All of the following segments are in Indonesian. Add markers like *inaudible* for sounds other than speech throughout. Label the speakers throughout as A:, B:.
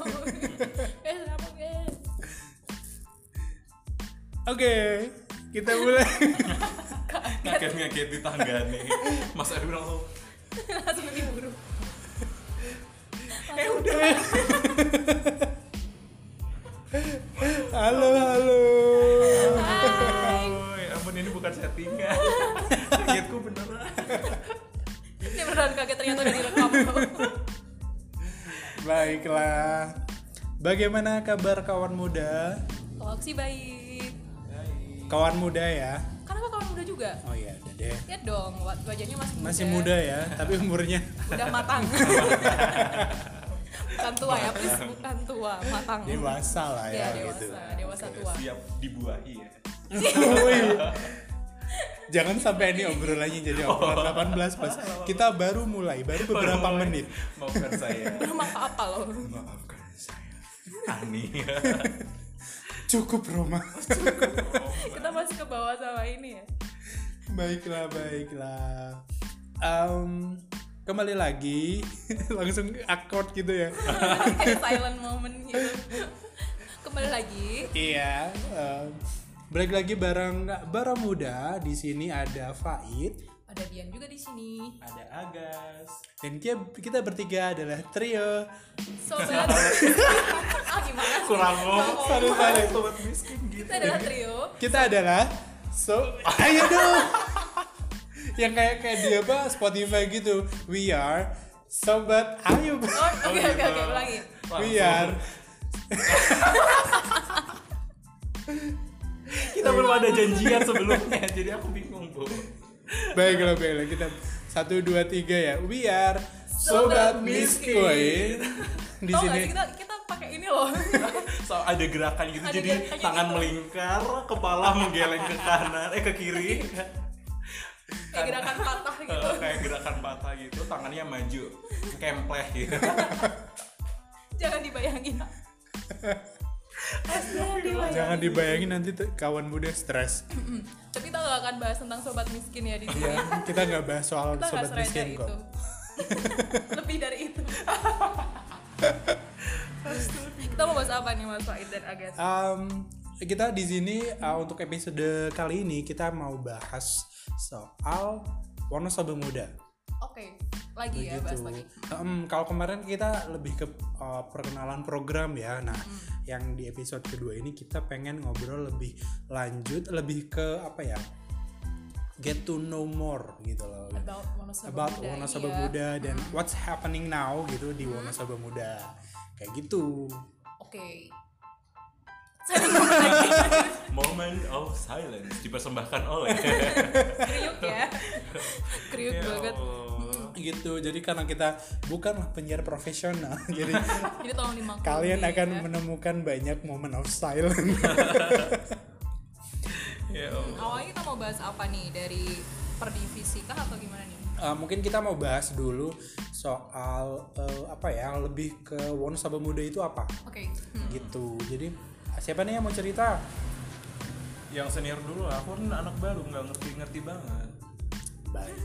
A: *laughs* Eh,
B: Oke, kita mulai. *laughs*
C: Kaget ngaget di tangga nih. Mas Erwin langsung
A: langsung diburu
B: eh udah. halo, halo.
C: Oi, "Oh, ya ampun ini bukan settingan. Kagetku beneran.
A: ini beneran kaget ternyata udah direkam
B: Baiklah. Bagaimana kabar kawan muda?
A: Toksi baik
B: Kawan muda ya.
A: karena kawan muda juga
B: Oh iya, udah deh.
A: ya dong wa- wajahnya masih muda
B: Masih muda ya, tapi umurnya
A: udah matang bukan tua ya please bukan tua matang
B: dewasa lah
A: ya,
B: ya,
A: dewasa
B: gitu.
A: dewasa tua
C: Siap dibuahi ya.
B: Wih. Jangan sampai ini obrolannya jadi obrolan 18 plus. Kita baru mulai, baru beberapa
C: Baru mulai.
B: menit.
C: Maafkan saya.
A: belum apa apa loh
B: Maafkan saya.
C: Ani.
B: Cukup Roma. *laughs*
A: kita masih ke bawah sama ini ya *laughs*
B: baiklah, baiklah. Em, kembali lagi *laughs* langsung akord gitu ya.
A: kayak silent moment gitu kembali lagi
B: Iya. em, balik lagi bareng Bara Muda. Di sini ada Faid
A: ada Dian juga di sini
C: Ada Agas.
B: dan kita, kita bertiga adalah trio. *laughs*
A: sobat ah gimana sih?
C: Kurang ngomong.
B: Sorry, sorry.
C: Sobat miskin gitu.
A: kita adalah trio
B: Kita adalah so ayo dong. *laughs* Yang kayak kayak dia apa Spotify gitu. We are sobat ayo. Ba.
A: Oh, oke oke oke ulangi
B: We
C: Iya.
B: are
C: Kita belum ada janjian sebelumnya, jadi aku bingung, Bu.
B: Baiklah, baiklah. Kita satu, dua, tiga ya. We are
A: Sobat
B: Sobat Miskin. Di
A: Tau nggak
B: sini.
A: sih, kita kita pakai ini
B: *laughs*
A: loh
C: So, ada gerakan gitu,
A: Ada
C: jadi
A: gerakannya
C: tangan
A: gitu.
C: melingkar, kepala menggeleng ke kanan, eh ke *laughs* kiri.
A: kayak gerakan patah
B: *laughs*
A: gitu
C: Eh, kayak gerakan patah gitu, tangannya maju, kempleh gitu.
A: jangan dibayangin Jangan dibayangin.
B: Jangan dibayangin nanti tuh kawan muda stres.
A: tapi kita gak akan bahas tentang sobat miskin ya di sini
B: Ya, kita nggak bahas soal
A: kita nggak gitu.
B: sobat
A: sereda
B: miskin
A: itu
B: kok.
A: *laughs*
B: *laughs*
A: lebih dari itu kita mau bahas apa nih mas Faid dan Agas
B: Um, kita di sini uh, untuk episode kali ini kita mau bahas soal Wonosobo Muda.
A: oke lagi ya bahas
B: Gitu.
A: lagi
B: Em, kalau kemarin kita lebih ke uh, perkenalan program ya. Nah,
A: Hmm.
B: yang di episode kedua ini kita pengen ngobrol lebih lanjut, lebih ke apa ya? Get to know more gitu loh.
A: about Wonosobo
B: About
A: Muda,
B: Wonosobo
A: iya. Hmm.
B: Muda dan what's happening now gitu di Wonosobo Muda. Kayak gitu.
A: oke *laughs* saya bingung lagi
C: Moment of silence dipersembahkan
A: *laughs*
C: oleh
A: kriuk
B: *laughs*
A: ya kriuk
B: Iya.
C: Ya
A: banget
C: Allah.
B: Gitu. Jadi karena kita bukanlah penyiar profesional, *laughs* jadi
A: jadi tolong dimaklumi
B: kalian akan
A: ya.
B: menemukan banyak moment of
A: *laughs*
B: silence.
C: Ya Allah.
A: awalnya kita mau bahas apa nih dari per divisi kah atau gimana nih
B: Uh, mungkin kita mau bahas dulu soal uh, apa ya lebih ke Wonosobo Muda itu apa
A: oke *laughs*
B: gitu jadi siapa nih yang mau cerita
C: Yang senior dulu, lah, aku kan anak baru nggak ngerti-ngerti banget.
B: baik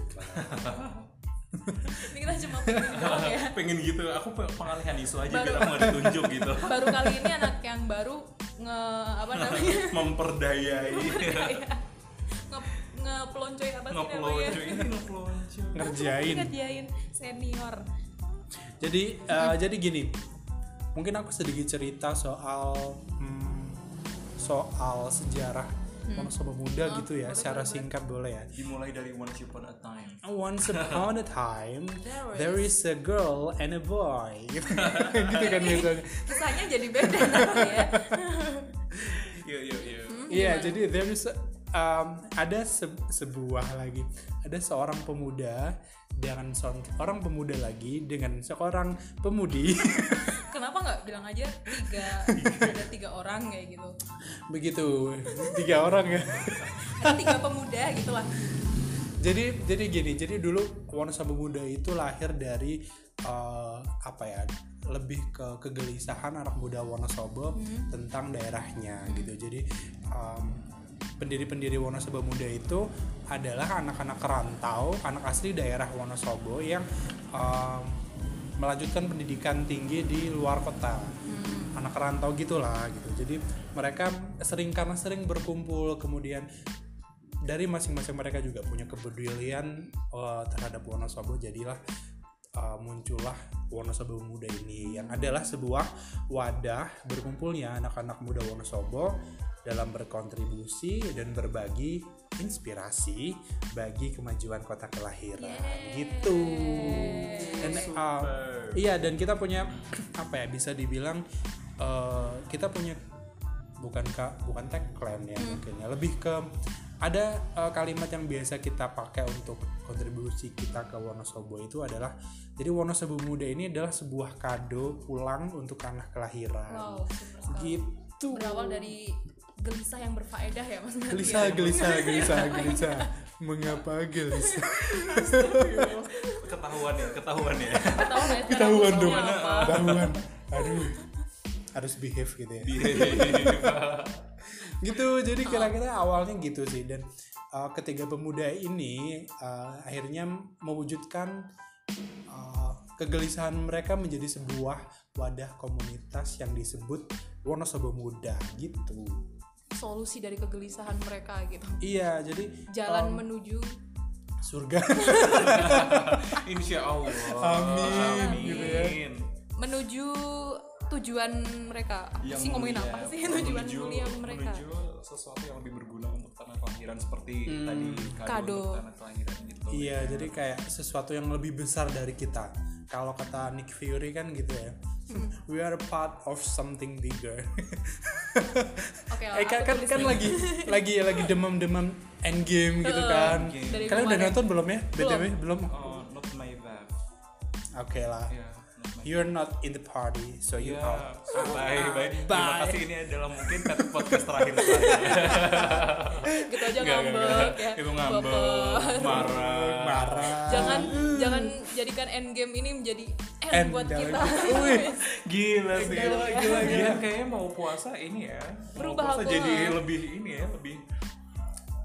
A: ini kita cuma pengen doang ya
C: Pengen gitu, aku pe- pengalihan isu aja
A: Baru-
C: biar aku nggak ditunjuk
A: *laughs*
C: gitu.
A: baru kali ini anak yang baru nge apa
C: *laughs*
A: namanya *laughs* Iya.
C: Memperdayai,
A: ya. nge ngeploncoy apa sih namanya
C: ngeplonco ini ngeplonco.
B: ngerjain
A: ngerjain senior
B: jadi uh, jadi gini mungkin aku sedikit cerita soal hmm, soal sejarah Wonosobo Muda
A: Oh,
B: gitu ya
A: boleh,
B: secara
A: boleh,
B: singkat boleh ya
C: Dimulai dari once upon a time.
B: Once upon a time,
A: There is-
B: there is a girl and a boy. *laughs* gitu kan biasanya.
A: kisahnya jadi beda *laughs* nanti ya
C: Iya iya iya.
A: Hmm?
B: Iya, jadi there is a- um, ada se- sebuah lagi, ada seorang pemuda dengan seorang pemuda lagi dengan seorang pemudi *laughs*
A: kenapa nggak bilang aja tiga ada tiga orang kayak gitu
B: begitu tiga orang ya.
A: ada tiga pemuda gitu lah
B: Jadi jadi gini, jadi dulu Wonosobo Muda itu lahir dari uh, apa ya? lebih ke kegelisahan anak muda Wonosobo tentang daerahnya gitu. Jadi um, pendiri-pendiri Wonosobo Muda itu adalah anak-anak rantau, anak asli daerah Wonosobo yang um, melanjutkan pendidikan tinggi di luar kota anak rantau gitulah gitu jadi mereka sering karena sering berkumpul kemudian dari masing-masing mereka juga punya kepedulian eh, terhadap Wonosobo jadilah eh, muncullah Wonosobo Muda ini yang adalah sebuah wadah berkumpulnya anak-anak muda Wonosobo dalam berkontribusi dan berbagi inspirasi bagi kemajuan kota kelahiran gitu dan eh, iya dan kita punya *clears throat* apa ya bisa dibilang eh, kita punya bukan ka, bukan tagline ya mungkin ya lebih ke ada eh, kalimat yang biasa kita pakai untuk kontribusi kita ke Wonosobo itu adalah jadi Wonosobo muda ini adalah sebuah kado pulang untuk tanah kelahiran
A: Wow, super sekali.
B: gitu
A: Berawal dari gelisah yang berfaedah ya Mas. Nadia?
B: gelisah gelisah gelisah gelisah mengapa gelisah
C: ketahuan ya ketahuan *laughs* ya
A: Tahu nggak sekarang
B: ketahuan dong
A: maksudnya apa?
B: ketahuan aduh harus behave gitu ya
C: Iya,
B: gitu jadi kira-kira awalnya gitu sih dan uh, ketiga pemuda ini uh, akhirnya mewujudkan uh, kegelisahan mereka menjadi sebuah wadah komunitas yang disebut Wonosobo Muda gitu
A: Solusi dari kegelisahan mereka gitu.
B: iya jadi
A: Jalan menuju
B: surga *laughs*
C: insya allah
B: Amin, gitu ya.
C: Amin.
A: menuju tujuan mereka. Apa
C: Yang
A: sih ngomongin
C: mulia,
A: apa sih tujuan
C: menuju-
A: mulia mereka?
C: menuju sesuatu yang lebih berguna untuk tanah kelahiran seperti tadi kado,
A: Hmm. Kado.
C: untuk tanah kelahiran gitu
B: iya jadi kayak sesuatu yang lebih besar dari kita kalau kata Nick Fury kan gitu ya we are part of something bigger *laughs*
A: Oke, lah,
B: Eh kan
A: aku
B: kan,
A: tulis
B: kan
A: nih.
B: lagi lagi lagi demam-demam endgame gitu
A: Heeh,
B: kan.
A: dari
B: Kalian udah
A: kemarin.
B: nonton belum ya? BTW belum.
C: oh not my bag
B: Oke lah.
C: ya not my
B: You're not in the party, so you
C: Ya,
B: out.
C: bye, bye. Terima
B: Bye.
C: kasih ini adalah mungkin podcast terakhir saya.
A: gitu aja
C: Enggak, enggak,
A: ngambek ya.
C: Itu ngambek,
A: Baper.
C: marah.
B: Marah.
A: Jangan jangan jadikan endgame ini menjadi end,
B: End
A: buat
B: dalam
A: kita.
B: hidup. Wih.
C: Gila sih.
A: Gila,
C: gila, gila. Kayaknya mau puasa ini ya.
A: Berubah
C: mau puasa
A: aku,
C: jadi
A: ha.
C: lebih ini ya, lebih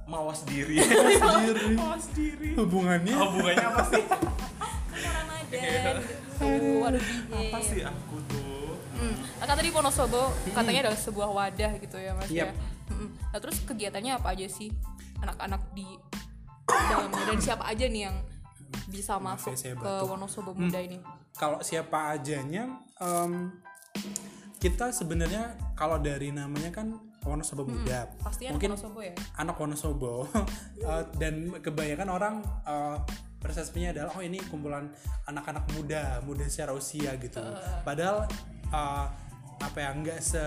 C: mawas diri. Iya.
B: Sendiri.
C: *laughs* mawas diri.
B: Hubungannya
C: Hubungannya apa sih?
A: Ramadan gitu. Waduh,
C: apa
A: dingin.
C: sih aku tuh?
A: Hmm. Nah, kan tadi Wonosobo
B: Hmm.
A: katanya adalah sebuah wadah gitu ya mas
B: Yep.
A: ya. Mm-mm. Nah terus kegiatannya apa aja sih anak-anak di dalamnya dan siapa aja nih yang bisa
B: Maaf
A: masuk
B: ya, saya
A: ke
B: batuk.
A: Wonosobo muda ini?
B: kalau siapa ajanya em, kita sebenarnya kalau dari namanya kan Wonosobo Muda.
A: Pastinya
B: Mungkin
A: anak Wonosobo ya.
B: anak Wonosobo *laughs* eh, dan kebanyakan orang eh, persepsinya adalah oh ini kumpulan anak-anak muda muda secara usia gitu padahal eh, apa ya nggak se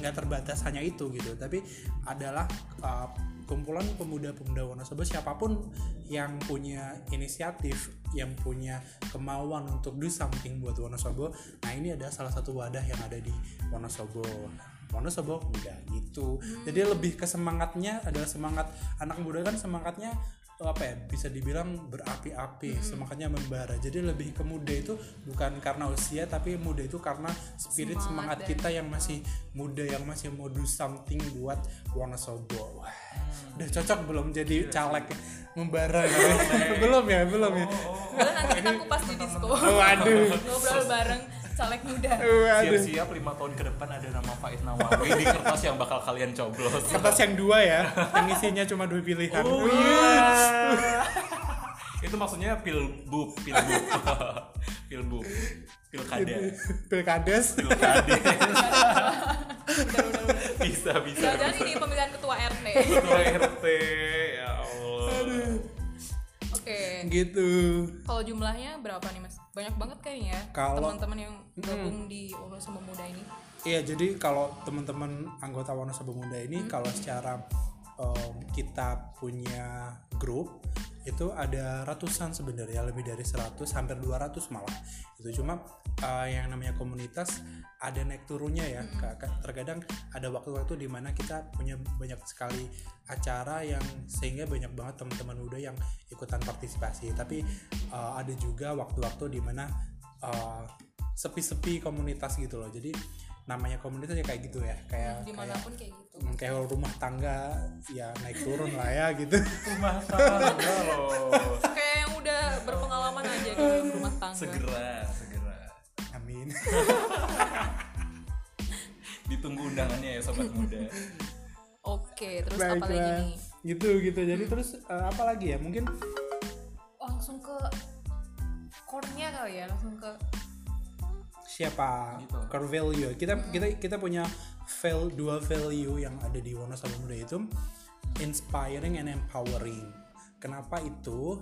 B: nggak terbatas hanya itu gitu tapi adalah eh, kumpulan pemuda-pemuda Wonosobo siapapun yang punya inisiatif yang punya kemauan untuk do something buat Wonosobo nah ini ada salah satu wadah yang ada di Wonosobo Wonosobo muda gitu.
A: Hmm.
B: Jadi lebih ke semangatnya adalah semangat anak muda kan semangatnya eh, apa ya bisa dibilang
A: Hmm.
B: berapi-api, semangatnya membara. Jadi lebih ke muda itu bukan karena usia tapi muda itu karena spirit
A: Semangat
B: semangat,
A: dan-
B: kita yang masih muda yang masih mau do something buat Wonosobo. Wah.
A: Hmm.
B: Udah cocok belum
C: Iya,
B: jadi caleg membara gitu. *laughs* belum ya, belum ya.
C: Oh,
A: Boleh nanti kita kupas di disco.
B: Oh, Waduh.
A: Ngobrol bareng caleg
B: *laughs*
A: muda.
B: Waduh.
C: Siap-siap lima tahun ke depan ada nama Faiz Nawawi di kertas yang bakal kalian coblos.
B: Kertas yang dua ya, yang isinya cuma dua pilihan.
C: Oh, iya. Itu maksudnya pilbub, *laughs* pilbub. pilbub. Pilkada.
B: Pilkades.
C: Pilkada.
A: Udah, udah, udah.
C: *laughs* bisa bisa.
A: Jangan-jangan ini pemilihan ketua RT.
C: Ketua RT. Ya Allah.
A: Oke.
B: gitu.
A: Kalau jumlahnya berapa nih mas? Banyak banget kayaknya ya
B: Kalau- Hmm.
A: teman-teman yang gabung di Wonosobo muda ini.
B: Iya, jadi kalau teman-teman anggota Wonosobo Muda ini kalau secara em, kita punya grup itu ada ratusan sebenarnya, lebih dari 100, hampir 200 malah. Itu cuma eh, yang namanya komunitas ada naik turunnya ya. Ka- ka- Terkadang ada waktu-waktu di mana kita punya banyak sekali acara yang sehingga banyak banget teman-teman muda yang ikutan partisipasi. Tapi eh, ada juga waktu-waktu di mana eh, sepi-sepi komunitas gitu loh. Jadi namanya komunitas ya kayak gitu ya, kayak kayak
A: Dimanapun kayak gitu.
B: mm, kayak rumah tangga ya naik turun lah ya gitu. *laughs*
C: Rumah tangga loh.
A: Kayak yang udah berpengalaman aja di gitu dalam rumah tangga.
C: Segera, segera.
B: Amin.
C: ditunggu undangannya ya sobat muda
A: oke terus apa lagi
B: Baiklah.
A: nih Hmm.
B: Gitu gitu. Jadi terus eh, apa lagi ya? Mungkin
A: Oh, langsung ke core-nya kali ya langsung ke
B: siapa
C: Gitu.
B: core value kita kita kita punya val dua value yang ada di Wonosobo Muda itu inspiring and empowering kenapa itu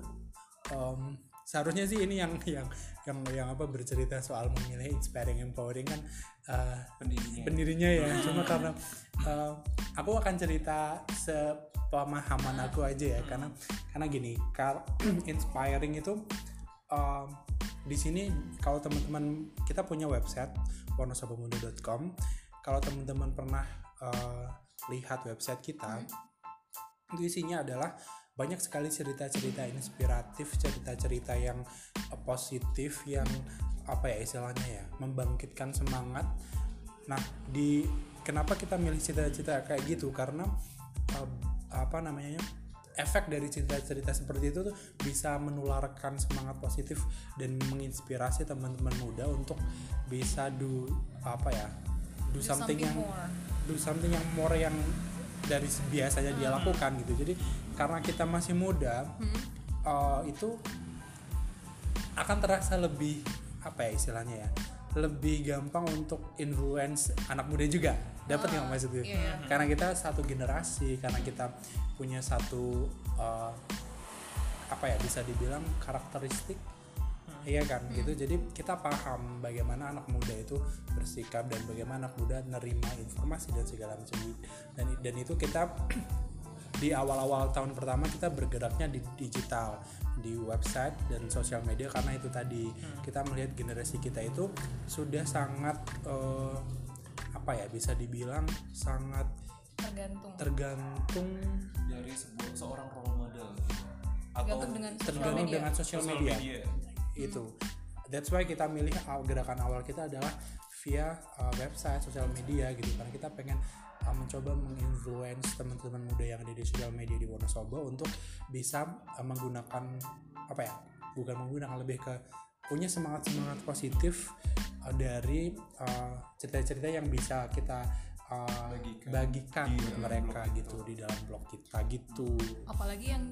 B: Em, seharusnya sih ini yang yang yang yang apa bercerita soal memilih inspiring empowering kan eh,
C: pendirinya
B: pendirinya
C: *laughs*
B: ya cuma karena eh, aku akan cerita sepemahaman aku aja ya karena karena gini kar *clears throat* inspiring itu eh, di sini kalau teman-teman kita punya website wonosobomuda.com kalau teman-teman pernah eh, lihat website kita itu isinya adalah banyak sekali cerita-cerita inspiratif, cerita-cerita yang eh, positif, yang apa ya istilahnya ya, membangkitkan semangat. Nah, di kenapa kita milih cerita-cerita kayak gitu? Karena eh, apa namanya? ya, Efek dari cerita-cerita seperti itu tuh bisa menularkan semangat positif dan menginspirasi teman-teman muda untuk bisa do apa ya? Do, something, yang
A: more
B: do something yang more yang dari biasanya dia lakukan gitu jadi karena kita masih muda eh, itu akan terasa lebih apa ya istilahnya ya lebih gampang untuk influence anak muda juga dapat nggak
A: iya,
B: maksudnya
A: iya.
B: karena kita satu generasi karena kita punya satu eh, apa ya bisa dibilang karakteristik iya kan gitu jadi kita paham bagaimana anak muda itu bersikap dan bagaimana anak muda nerima informasi dan segala macam dan dan itu kita *clears throat* di awal-awal tahun pertama kita bergeraknya di digital di website dan sosial media karena itu tadi kita melihat generasi kita itu sudah sangat eh, apa ya bisa dibilang sangat
A: tergantung
B: tergantung
C: dari sebuah seorang role model gitu. atau
A: tergantung dengan sosial
B: tergantung
A: media
B: dengan sosial
C: sosial
B: media
C: media
B: itu that's why kita milih aw- gerakan awal kita adalah via uh, website sosial media gitu karena kita pengen uh, mencoba menginfluence teman-teman muda yang ada di sosial media di Wonosobo untuk bisa uh, menggunakan apa ya bukan menggunakan lebih ke punya semangat semangat positif uh, dari uh, cerita-cerita yang bisa kita uh,
C: Bagikan.
B: bagikan,
C: Di
B: ke
C: dalam
B: mereka
C: blog
B: gitu di dalam blog kita gitu
A: apalagi yang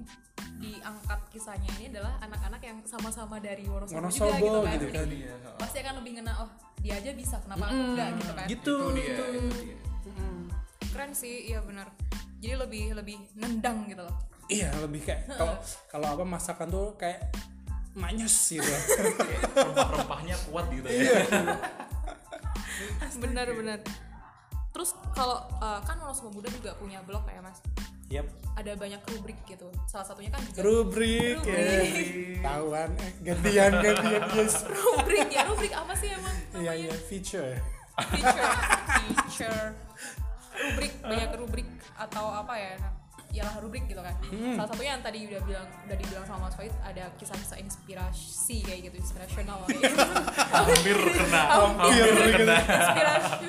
A: diangkat kisahnya ini adalah anak-anak yang sama-sama dari Wonosobo,
B: Wonosobo
A: juga gitu kan,
B: gitu
A: Jadi
B: kan.
C: Iya, ha.
A: pasti akan lebih ngena oh dia aja bisa kenapa aku enggak gitu kan
B: gitu
C: itu dia itu dia
A: keren sih iya benar jadi lebih lebih nendang gitu loh
B: Iya lebih kayak kalau kalau apa masakan tuh kayak manyes gitu.
C: Kayak rempah-rempahnya kuat gitu ya
A: benar-benar terus kalau eh, kan Wonosobo Muda juga punya blog ya mas
B: *laughs* Yap.
A: ada banyak rubrik gitu salah satunya kan juga
B: Rubrik,
A: Rubrik.
B: eh, tahuan eh, gantian gantian yes.
A: rubrik ya rubrik apa sih
C: *laughs*
A: emang
B: Iya iya feature.
A: feature feature rubrik banyak rubrik atau apa ya ialah rubrik gitu kan
C: Hmm.
A: salah satunya yang tadi udah bilang udah dibilang sama Mas Faid ada kisah-kisah inspirasi kayak gitu
C: *laughs*
A: inspirational kayak gitu.
C: hampir kena hampir kena
A: Inspirasi-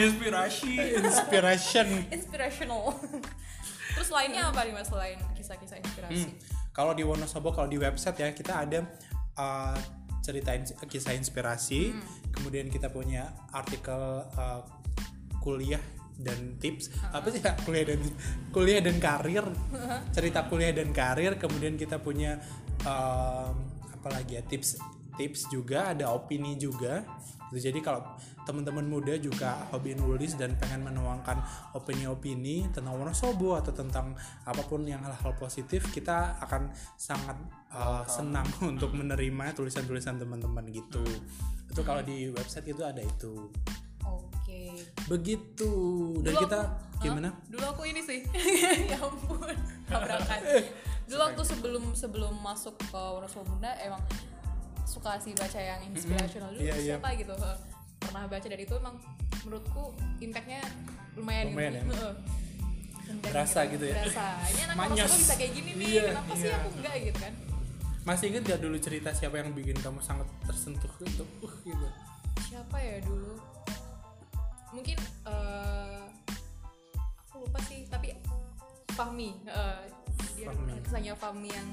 C: inspirasi
B: Inspiration.
A: inspirational *laughs* terus lainnya apa nih mas selain kisah-kisah inspirasi
B: Hmm. Kalau di Wonosobo kalau di website ya kita ada uh, cerita ins- kisah inspirasi, kemudian kita punya artikel uh, kuliah dan tips apa sih *laughs* ya? kuliah dan kuliah dan karir cerita kuliah dan karir kemudian kita punya um, apalagi ya tips tips juga ada opini juga Gitu, jadi kalau teman-teman muda juga hobi nulis dan pengen menuangkan opini-opini tentang Wonosobo atau tentang apapun yang hal-hal positif kita akan sangat uh, senang *laughs* untuk menerima tulisan-tulisan teman-teman gitu
A: Hmm.
B: itu kalau di website itu ada itu
C: Hmm.
A: oke
B: begitu dan
A: Dulu
B: kita
A: aku-
B: gimana
A: Hah? Dulu aku ini sih. *laughs* ya ampun, tabrakan.
B: Eh,
A: Dulu aku sebelum sebelum masuk ke Wonosobo Bunda emang suka sih baca yang inspirational dulu
B: Iya, iya.
A: siapa gitu. Heeh. Pernah baca dari itu emang menurutku impact-nya lumayan,
B: Lumayan
A: *laughs*
B: ya?
A: gitu. Heeh. Impact
B: Berasa gitu ya?
A: Berasa. Ini anak
B: Manyas.
A: Wonosobo bisa kayak gini nih.
B: Iya,
A: Kenapa sih
B: iya.
A: aku enggak gitu kan?
B: masih inget gak dulu cerita siapa yang bikin kamu sangat tersentuh gitu uh, gitu
A: siapa ya dulu mungkin eh, aku lupa sih tapi Fahmi eh, dia
B: Fahmi.
A: kisahnya Fahmi yang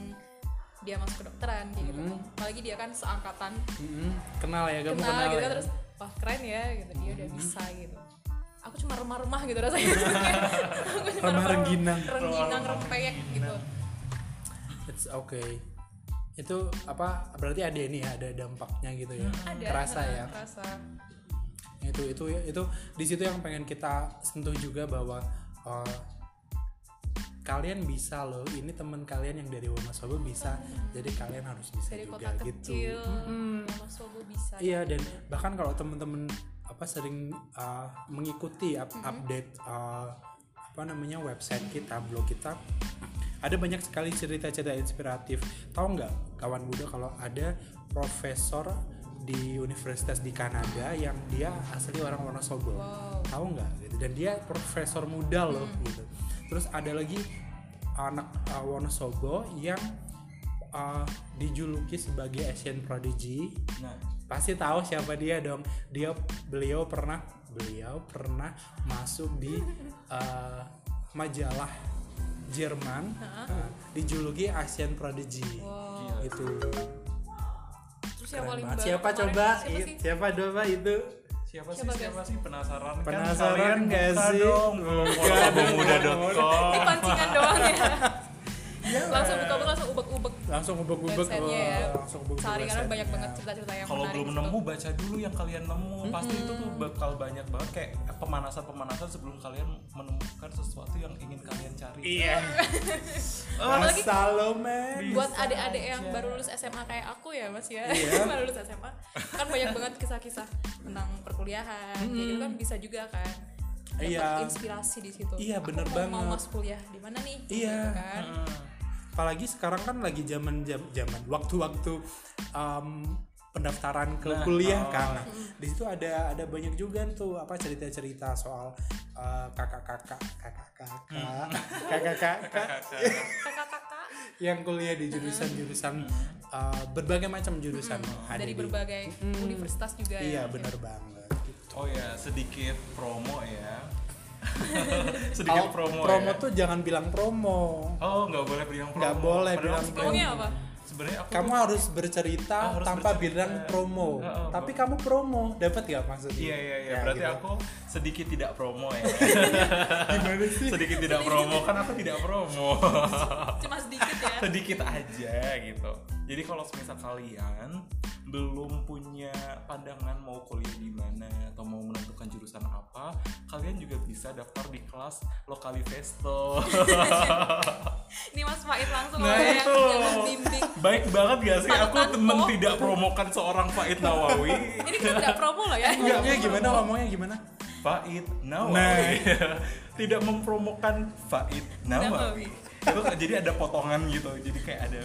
A: dia masuk kedokteran kayak gitu
B: Mm-hmm.
A: kan. apalagi dia kan seangkatan
B: Mm-mm. kenal ya kamu
A: Hmm. kenal, gitu
B: kenal, ya? Mm-hmm.
A: kan terus wah keren ya gitu dia udah bisa gitu aku cuma remah-remah gitu
B: *laughs*
A: rasanya aku cuma
B: Remah rengginang.
A: rengginang rempeyek gitu
B: It's okay. Itu apa berarti ada ini ya, ada dampaknya gitu ya.
A: Hmm, ada
B: Terasa
A: ada *laughs*
B: ya.
A: terasa
B: Itu itu itu di situ yang pengen kita sentuh juga bahwa eh, kalian bisa loh. Ini teman kalian yang dari Wonosobo bisa. Jadi kalian harus bisa
A: Hmm. dari
B: juga
A: kota
B: gitu.
A: kecil
B: Mm-mm.
A: Mas Wobo bisa
B: Iya dan bahkan kalau temen-temen apa sering uh, mengikuti up- update uh, apa namanya website kita blog kita ada banyak sekali cerita-cerita inspiratif tahu nggak kawan muda kalau ada profesor di universitas di Kanada yang dia asli orang Wonosobo
A: Wow.
B: tahu nggak gitu dan dia profesor muda loh gitu terus ada lagi anak uh, Wonosobo yang uh, dijuluki sebagai Asian Prodigy
C: nah
B: pasti tahu siapa dia dong dia beliau pernah beliau pernah masuk di eh, majalah Jerman eh, dijuluki Asian Prodigy
A: wow
C: gila
B: itu
A: terus yang
B: keren
A: paling
B: banget.
A: baru
B: siapa
A: kemarin
B: coba Iya.
A: siapa
B: It-
A: sih?
B: siapa coba itu
C: siapa, sih
A: Siapa
C: siapa
A: guys?
C: sih penasaran kan?
B: Penasaran
C: Kalian
B: gak
C: buka
B: sih?
C: dong
B: Buka dong.
C: pemuda.com
A: ini pancingan doang ya langsung buka buka langsung ubek-ubek
B: langsung ubek-ubek
A: Websitenya
B: Iya. wah,
A: ya.
B: langsung ubek-ubek
A: Sorry karena
B: websitenya.
A: banyak banget cerita-cerita yang
C: kalau
A: menarik gitu.
C: belum
A: di situ.
C: nemu baca dulu yang kalian nemu pasti itu tuh bakal banyak banget kayak pemanasan pemanasan sebelum kalian menemukan sesuatu yang ingin kalian cari
B: iya
A: Apalagi-
B: Salome
A: buat adik-adik yang
C: aja.
A: baru lulus SMA kayak aku ya mas ya
B: Iya.
A: *laughs* baru lulus SMA kan banyak banget kisah-kisah tentang perkuliahan kayak gitu kan bisa juga kan dapat
B: Hmm. Iya.
A: inspirasi di situ
B: Iya,
A: Aku
B: bener
A: mau, mau
B: banget.
A: masuk kuliah di mana nih
B: Iya.
A: gitu kan
B: apalagi sekarang kan lagi zaman jam- zaman waktu-waktu em, pendaftaran ke
C: Nah,
B: kuliah
C: oh.
B: kan Nah, di situ ada ada banyak juga tuh apa cerita-cerita soal eh, kakak-kakak kakak-kakak
C: Mm.
B: kakak-kakak
A: kakak-kakak
B: yang kuliah di jurusan-jurusan
C: Mm.
B: eh, berbagai macam jurusan ada
A: dari
B: di- Hmm.
A: berbagai universitas juga ya.
B: iya benar banget
C: *laughs* oh ya sedikit promo
A: *laughs*
C: ya sedikit
B: kalau
C: promo,
B: promo
C: ya.
B: tuh jangan bilang promo
C: oh nggak boleh bilang promo
B: Nggak boleh
C: Padahal
B: bilang
C: sebenarnya-
A: ngomongnya apa
C: sebenarnya aku
B: kamu
C: tuh-
B: harus bercerita
C: Ah, harus
B: tanpa
C: bercerita.
B: bilang promo
C: Ah, ah,
B: tapi kamu promo dapat gak maksudnya
C: Iya iya iya.
B: Ya,
C: Berarti
B: gitu.
C: aku sedikit tidak promo
B: *laughs*
C: ya.
B: gimana *laughs* sih
C: sedikit tidak promo kan aku tidak promo.
A: cuma sedikit ya
C: sedikit aja gitu. Jadi kalau semisal kalian belum punya pandangan mau kuliah di mana atau mau menentukan jurusan apa, kalian juga bisa daftar di kelas Lokali
A: *laughs* Oh,
C: Festo.
A: ini mas Faiz langsung
C: Nah,
A: orang yang
C: itu.
A: iya, yang membimbing
C: Baik banget gak sih aku
A: Tanpa
C: temen
A: tanpa.
C: tidak promokan seorang Faiz
A: *laughs*
C: Nawawi.
A: ini kita tidak promo loh
B: *laughs*
A: ya
B: ngomongnya gimana ngomongnya gimana
C: Faiz
B: Nah.
C: Nawawi *laughs* tidak mempromokan Faiz Nawawi
A: Nawawi.
C: itu kayak- jadi ada potongan gitu jadi kayak ada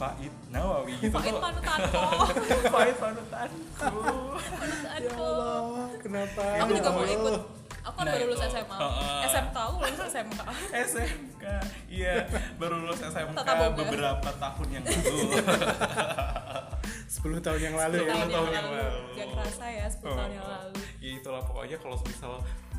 C: Faiz Nawawi gitu
A: Faiz
C: tuh
B: *laughs*
A: panutanko
C: Faiz panutanku
B: ya
A: panutanko
B: Allah kenapa
A: aku juga mau
B: Allah.
A: ikut aku kan
C: Nah,
A: baru lulus
C: itu.
A: SMA
C: Heeh.
A: SMK aku lulus SMK
C: SMK iya baru lulus SMK
A: Tata boga.
C: beberapa tahun yang lalu
B: 10 tahun yang lalu ya
C: Sepuluh tahun yang lalu.
A: gak kerasa ya 10
B: Oh.
A: tahun yang lalu
C: ya itulah pokoknya kalau misal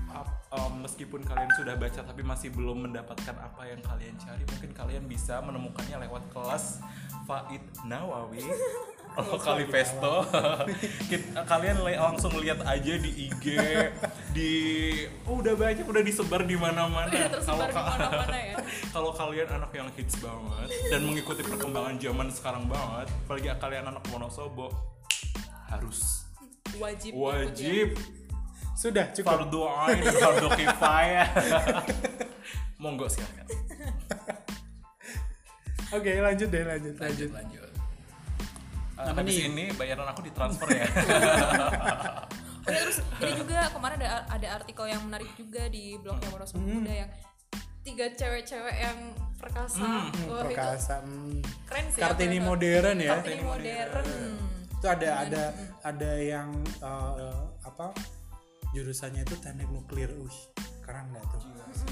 C: ap- um, meskipun kalian sudah baca tapi masih belum mendapatkan apa yang kalian cari mungkin kalian bisa menemukannya lewat kelas Faid Nawawi Lokali Festo Kit- kalian le- langsung lihat aja di IG di oh, udah banyak udah disebar di mana-mana
B: Nah,
A: udah tersebar di
C: Kalau ka-
B: *laughs*
A: mana-mana ya
C: kalau kalian anak yang hits banget dan mengikuti perkembangan zaman sekarang banget apalagi kalian anak Wonosobo harus
A: wajib ikut ya.
C: wajib
B: sudah cukup
C: fardu ain fardu kifayah *laughs* monggo silakan Eh,
B: oke lanjut deh lanjut lanjut
C: lanjut
B: Apa
C: habis
B: nih?
C: ini bayaran aku ditransfer ya *laughs*
A: ya. Udah, terus ini juga kemarin ada ada artikel yang menarik juga di blognya Wonosobo
B: Hmm.
A: Muda yang tiga cewek-cewek yang perkasa
C: Hmm,
A: Wah, itu
B: perkasa hmm.
A: keren sih
B: kartini
A: aku lihat.
B: modern ya
A: kartini modern
B: itu ada ada ada yang uh, uh, apa jurusannya itu teknik nuklir wih keren nggak tuh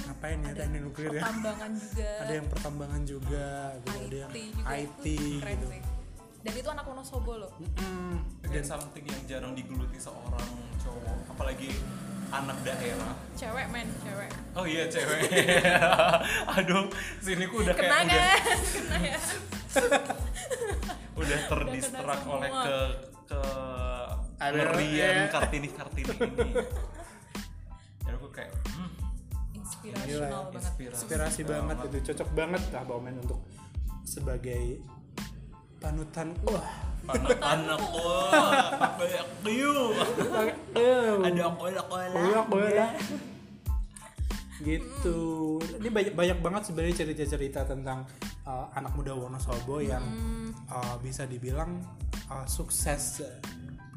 B: ngapain ya teknik nuklir ya
A: pertambangan juga
B: ada yang pertambangan juga gitu. ada yang
A: IT juga
B: IT
A: Hmm, keren
B: gitu. Hmm.
A: sih dan itu anak Wonosobo loh
B: Mm-mm.
C: dan something yang jarang digeluti seorang cowok apalagi anak daerah
A: cewek men cewek
C: oh iya cewek *laughs* aduh sini ku udah kayak
A: kenangan
B: *laughs*
C: udah
A: kenangan
C: udah terdistrak
A: semua.
C: oleh ke ke
B: Ada-
C: meriam
B: iya.
C: kartini kartini
B: *laughs*
C: ini dan aku kayak hmm,
A: inspirational
B: Gila,
A: banget
C: inspirasi.
B: inspirasi banget
C: banget.
B: itu cocok banget lah Bauman untuk sebagai panutan wah
C: anak-anak wah apa ya kiu ada kolak kolak
B: Eh, banyak banget gitu ini banyak banyak banget sebenarnya cerita-cerita tentang uh, anak muda Wonosobo yang
A: Hmm.
B: uh, bisa dibilang uh, sukses uh,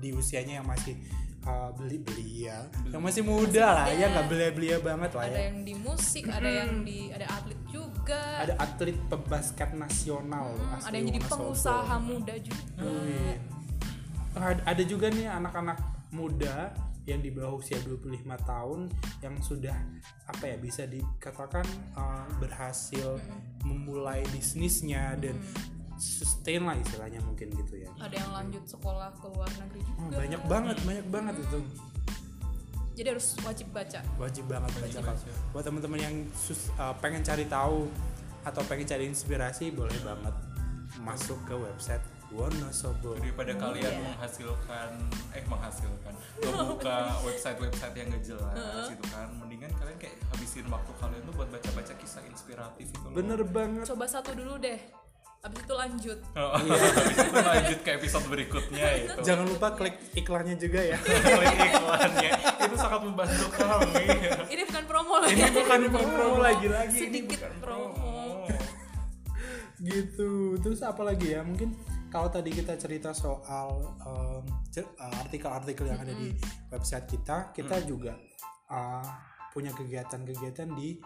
B: di usianya yang masih uh, beli belia yang masih muda lah ya nggak belia belia banget lah
A: ada
B: ya
A: yang di musik ada yang di ada atlet juga
B: ada atlet pebasket nasional
A: Hmm,
B: asli
A: ada yang jadi
B: Wonosobo.
A: pengusaha muda juga
B: Wih. Ad- ada juga nih anak-anak muda yang di bawah usia 25 tahun yang sudah apa ya bisa dikatakan uh, berhasil memulai bisnisnya dan sustain lah istilahnya mungkin gitu ya.
A: ada yang lanjut sekolah ke luar negeri
B: Hmm,
A: juga
B: banyak banget, banyak banget itu.
A: jadi harus wajib baca
B: Wajib banget baca.
C: banget.
B: Kak. Buat teman-teman yang sus- uh, pengen cari tahu atau pengen cari inspirasi boleh banget masuk ke website Wonosobo.
C: daripada kalian
A: Iya.
C: menghasilkan eh menghasilkan
B: *laughs*
C: membuka website website yang gak jelas gitu kan mendingan kalian kayak habisin waktu kalian tuh buat baca baca kisah inspiratif itu loh
B: Bener banget.
A: coba satu dulu deh abis itu lanjut
C: Oh, *laughs* habis
B: Iya.
C: itu lanjut ke episode berikutnya itu
B: Jangan lupa klik iklannya juga ya.
C: Klik iklannya *laughs* itu sangat membantu kami
A: ini bukan promo loh
B: ini
A: ya *laughs*
B: bukan promo lagi lagi ini
A: sedikit promo
B: gitu terus apa lagi ya mungkin kalau tadi kita cerita soal em, cer- eh, artikel-artikel yang ada di website kita kita juga eh, punya kegiatan-kegiatan di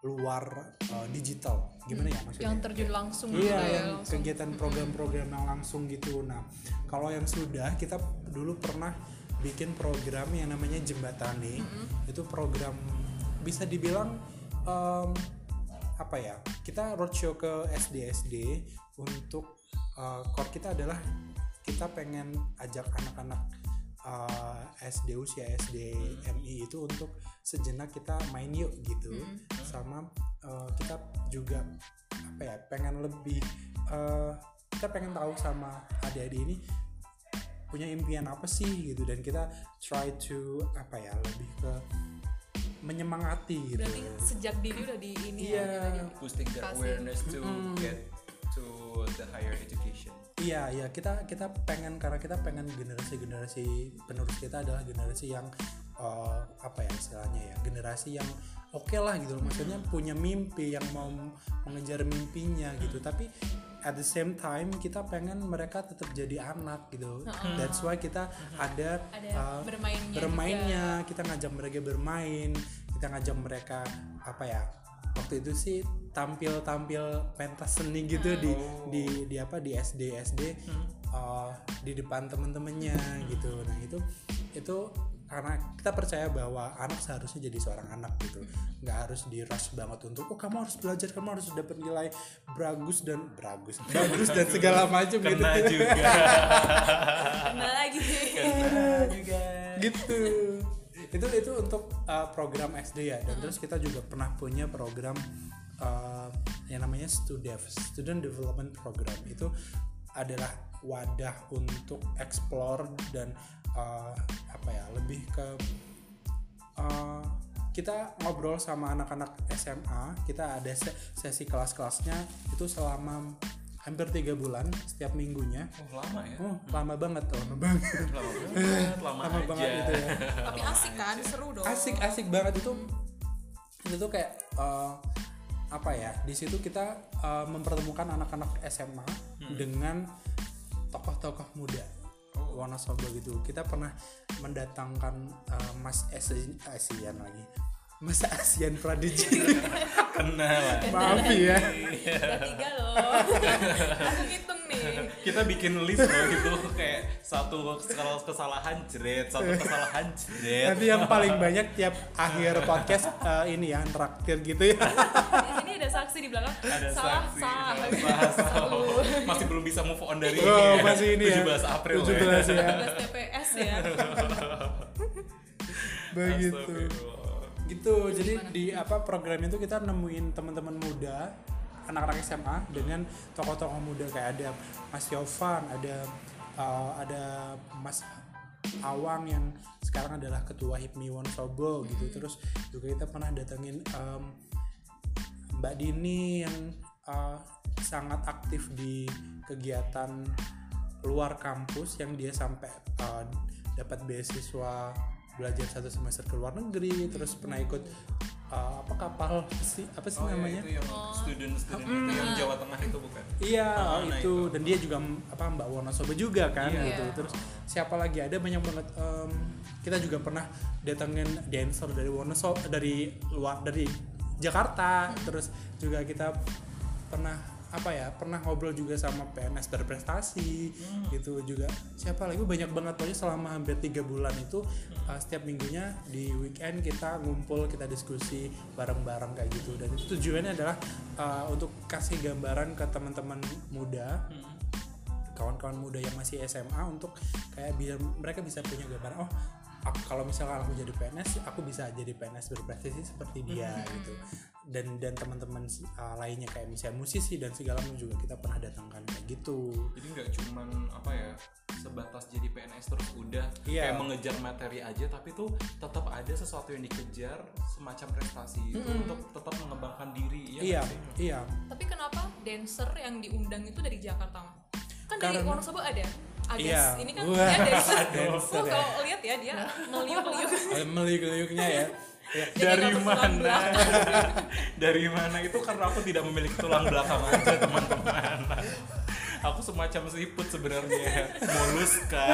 B: luar eh, digital gimana ya maksudnya
A: yang terjun langsung
B: Iya,
A: gitu ya
B: yang
A: langsung
B: kegiatan program-program yang langsung gitu. Nah, kalau yang sudah kita dulu pernah bikin program yang namanya Jembatani. Itu program bisa dibilang em, apa ya? Kita roadshow ke SD-SD untuk eh, core kita adalah kita pengen ajak anak-anak eh, SD usia SD MI itu untuk sejenak kita main yuk gitu sama eh, kita juga apa ya pengen lebih eh, kita pengen tahu sama adik-adik ini punya impian apa sih gitu dan kita try to apa ya lebih ke menyemangati gitu
A: berarti kan sejak dini udah di ini
B: Iya.
A: ya kita di-
C: boosting the
A: Kasih. Hmm.
C: awareness to get to the higher education
B: Iya, iya kita kita pengen karena kita pengen generasi generasi penerus kita adalah generasi yang eh, apa ya istilahnya ya generasi yang oke lah gitu loh maksudnya punya mimpi yang mau mengejar mimpinya gitu tapi at the same time kita pengen mereka tetap jadi anak gitu that's why kita ada
A: ada
B: eh,
A: bermainnya
B: bermainnya kita ngajak mereka bermain kita ngajak mereka apa ya waktu itu sih tampil tampil pentas seni gitu
C: Hmm.
B: di
C: Oh.
B: di di apa di SD SD eh, di depan temen-temennya
C: Hmm.
B: gitu nah itu itu karena kita percaya bahwa anak seharusnya jadi seorang anak gitu
C: Hmm.
B: nggak harus di rush banget untuk oh kamu harus belajar kamu harus dapat nilai bagus dan bagus bagus
C: *laughs*
B: dan segala macam gitu
C: kena Nah, juga
A: juga kena
B: *laughs*
A: lagi
C: kena juga
B: gitu itu itu untuk uh, program SD ya dan terus kita juga pernah punya program uh, yang namanya StuDev Student Development Program itu adalah wadah untuk explore dan uh, apa ya lebih ke Uh, kita ngobrol sama anak-anak SMA kita ada se- sesi kelas-kelasnya itu selama hampir tiga bulan setiap minggunya
C: oh lama ya
B: oh, lama banget lama banget
C: lama banget gitu lama,
B: lama
C: aja.
B: banget itu ya
A: tapi asik kan seru dong
B: asik asik banget itu itu tuh kayak eh, apa ya di situ kita eh, mempertemukan anak-anak SMA
C: Hmm.
B: dengan tokoh-tokoh muda
C: Oh.
B: Wonosobo gitu kita pernah mendatangkan eh, Mas Asian, Asian lagi Mas Asian
C: *laughs*
B: Pradiji
C: kena lah
B: maaf ya
A: udah tiga
B: *laughs*
A: loh aku hitung nih
C: kita bikin list loh itu kayak satu kalau kesalahan jeret *laughs* satu kesalahan jeret
B: nanti yang paling banyak tiap akhir podcast eh, ini ya traktir gitu ya
A: di sini ada saksi di belakang
C: ada
A: salah
C: saksi
A: salah
C: ada salah, salah. masih belum bisa move on dari
B: Oh,
C: ya.
B: masih ini ya
C: 17 April
B: 17 ya
A: 17 TPS ya
B: Gitu. begitu gitu jadi di apa program itu kita nemuin teman-teman muda anak-anak SMA dengan tokoh-tokoh muda kayak ada Mas Yovan, ada eh, ada Mas Awang yang sekarang adalah ketua HIPMI Wonosobo gitu. Terus juga kita pernah datengin em, Mbak Dini yang eh, sangat aktif di kegiatan luar kampus yang dia sampai eh, dapat beasiswa belajar satu semester ke luar negeri terus pernah ikut eh, apa kapal pesi- apa sih
C: Oh ya,
B: namanya
C: itu yang student student itu yang Jawa Tengah itu bukan?
B: Iya
C: Ah, nah
B: itu dan dia juga apa Mbak Wonosobo juga kan
C: Iya.
B: gitu terus siapa lagi ada banyak banget em, kita juga pernah datengin dancer dari Wonosobo dari luar dari
C: Hmm.
B: Jakarta terus juga kita pernah apa ya pernah ngobrol juga sama PNS berprestasi gitu juga siapa lagi banyak banget pokoknya selama hampir tiga bulan itu eh, setiap minggunya di weekend kita ngumpul kita diskusi bareng-bareng kayak gitu dan itu tujuannya adalah eh, untuk kasih gambaran ke teman-teman muda
C: Hmm.
B: kawan-kawan muda yang masih SMA untuk kayak biar mereka bisa punya gambaran oh aku- kalau misalkan aku jadi PNS aku bisa jadi PNS berprestasi seperti dia gitu dan dan teman-teman uh, lainnya kayak misalnya musisi dan segala macam juga kita pernah datangkan kayak gitu
C: Jadi nggak cuman apa ya sebatas jadi PNS terus udah
B: Iya.
C: kayak mengejar materi aja tapi tuh tetap ada sesuatu yang dikejar semacam prestasi itu untuk tetap mengembangkan diri ya
B: iya iya
A: Tapi kenapa dancer yang diundang itu dari Jakarta? Mas? Kan dari
B: Karena-
A: Wonosobo ada. Agus
B: Iya.
A: ini kan
B: Wah,
A: dia dancer.
B: *laughs* dancer
A: Lo
B: ya.
A: kalau lihat ya dia
B: *laughs*
A: ngeliuk-ngeliuk.
B: meliuk-liuknya ya *laughs* Iya.
A: Dia kayak
C: dari
A: nggak bertulang
C: mana
B: *laughs*
A: belakang.
C: dari mana itu karena aku tidak memiliki tulang belakang aja *laughs* teman-teman aku semacam siput sebenarnya moluska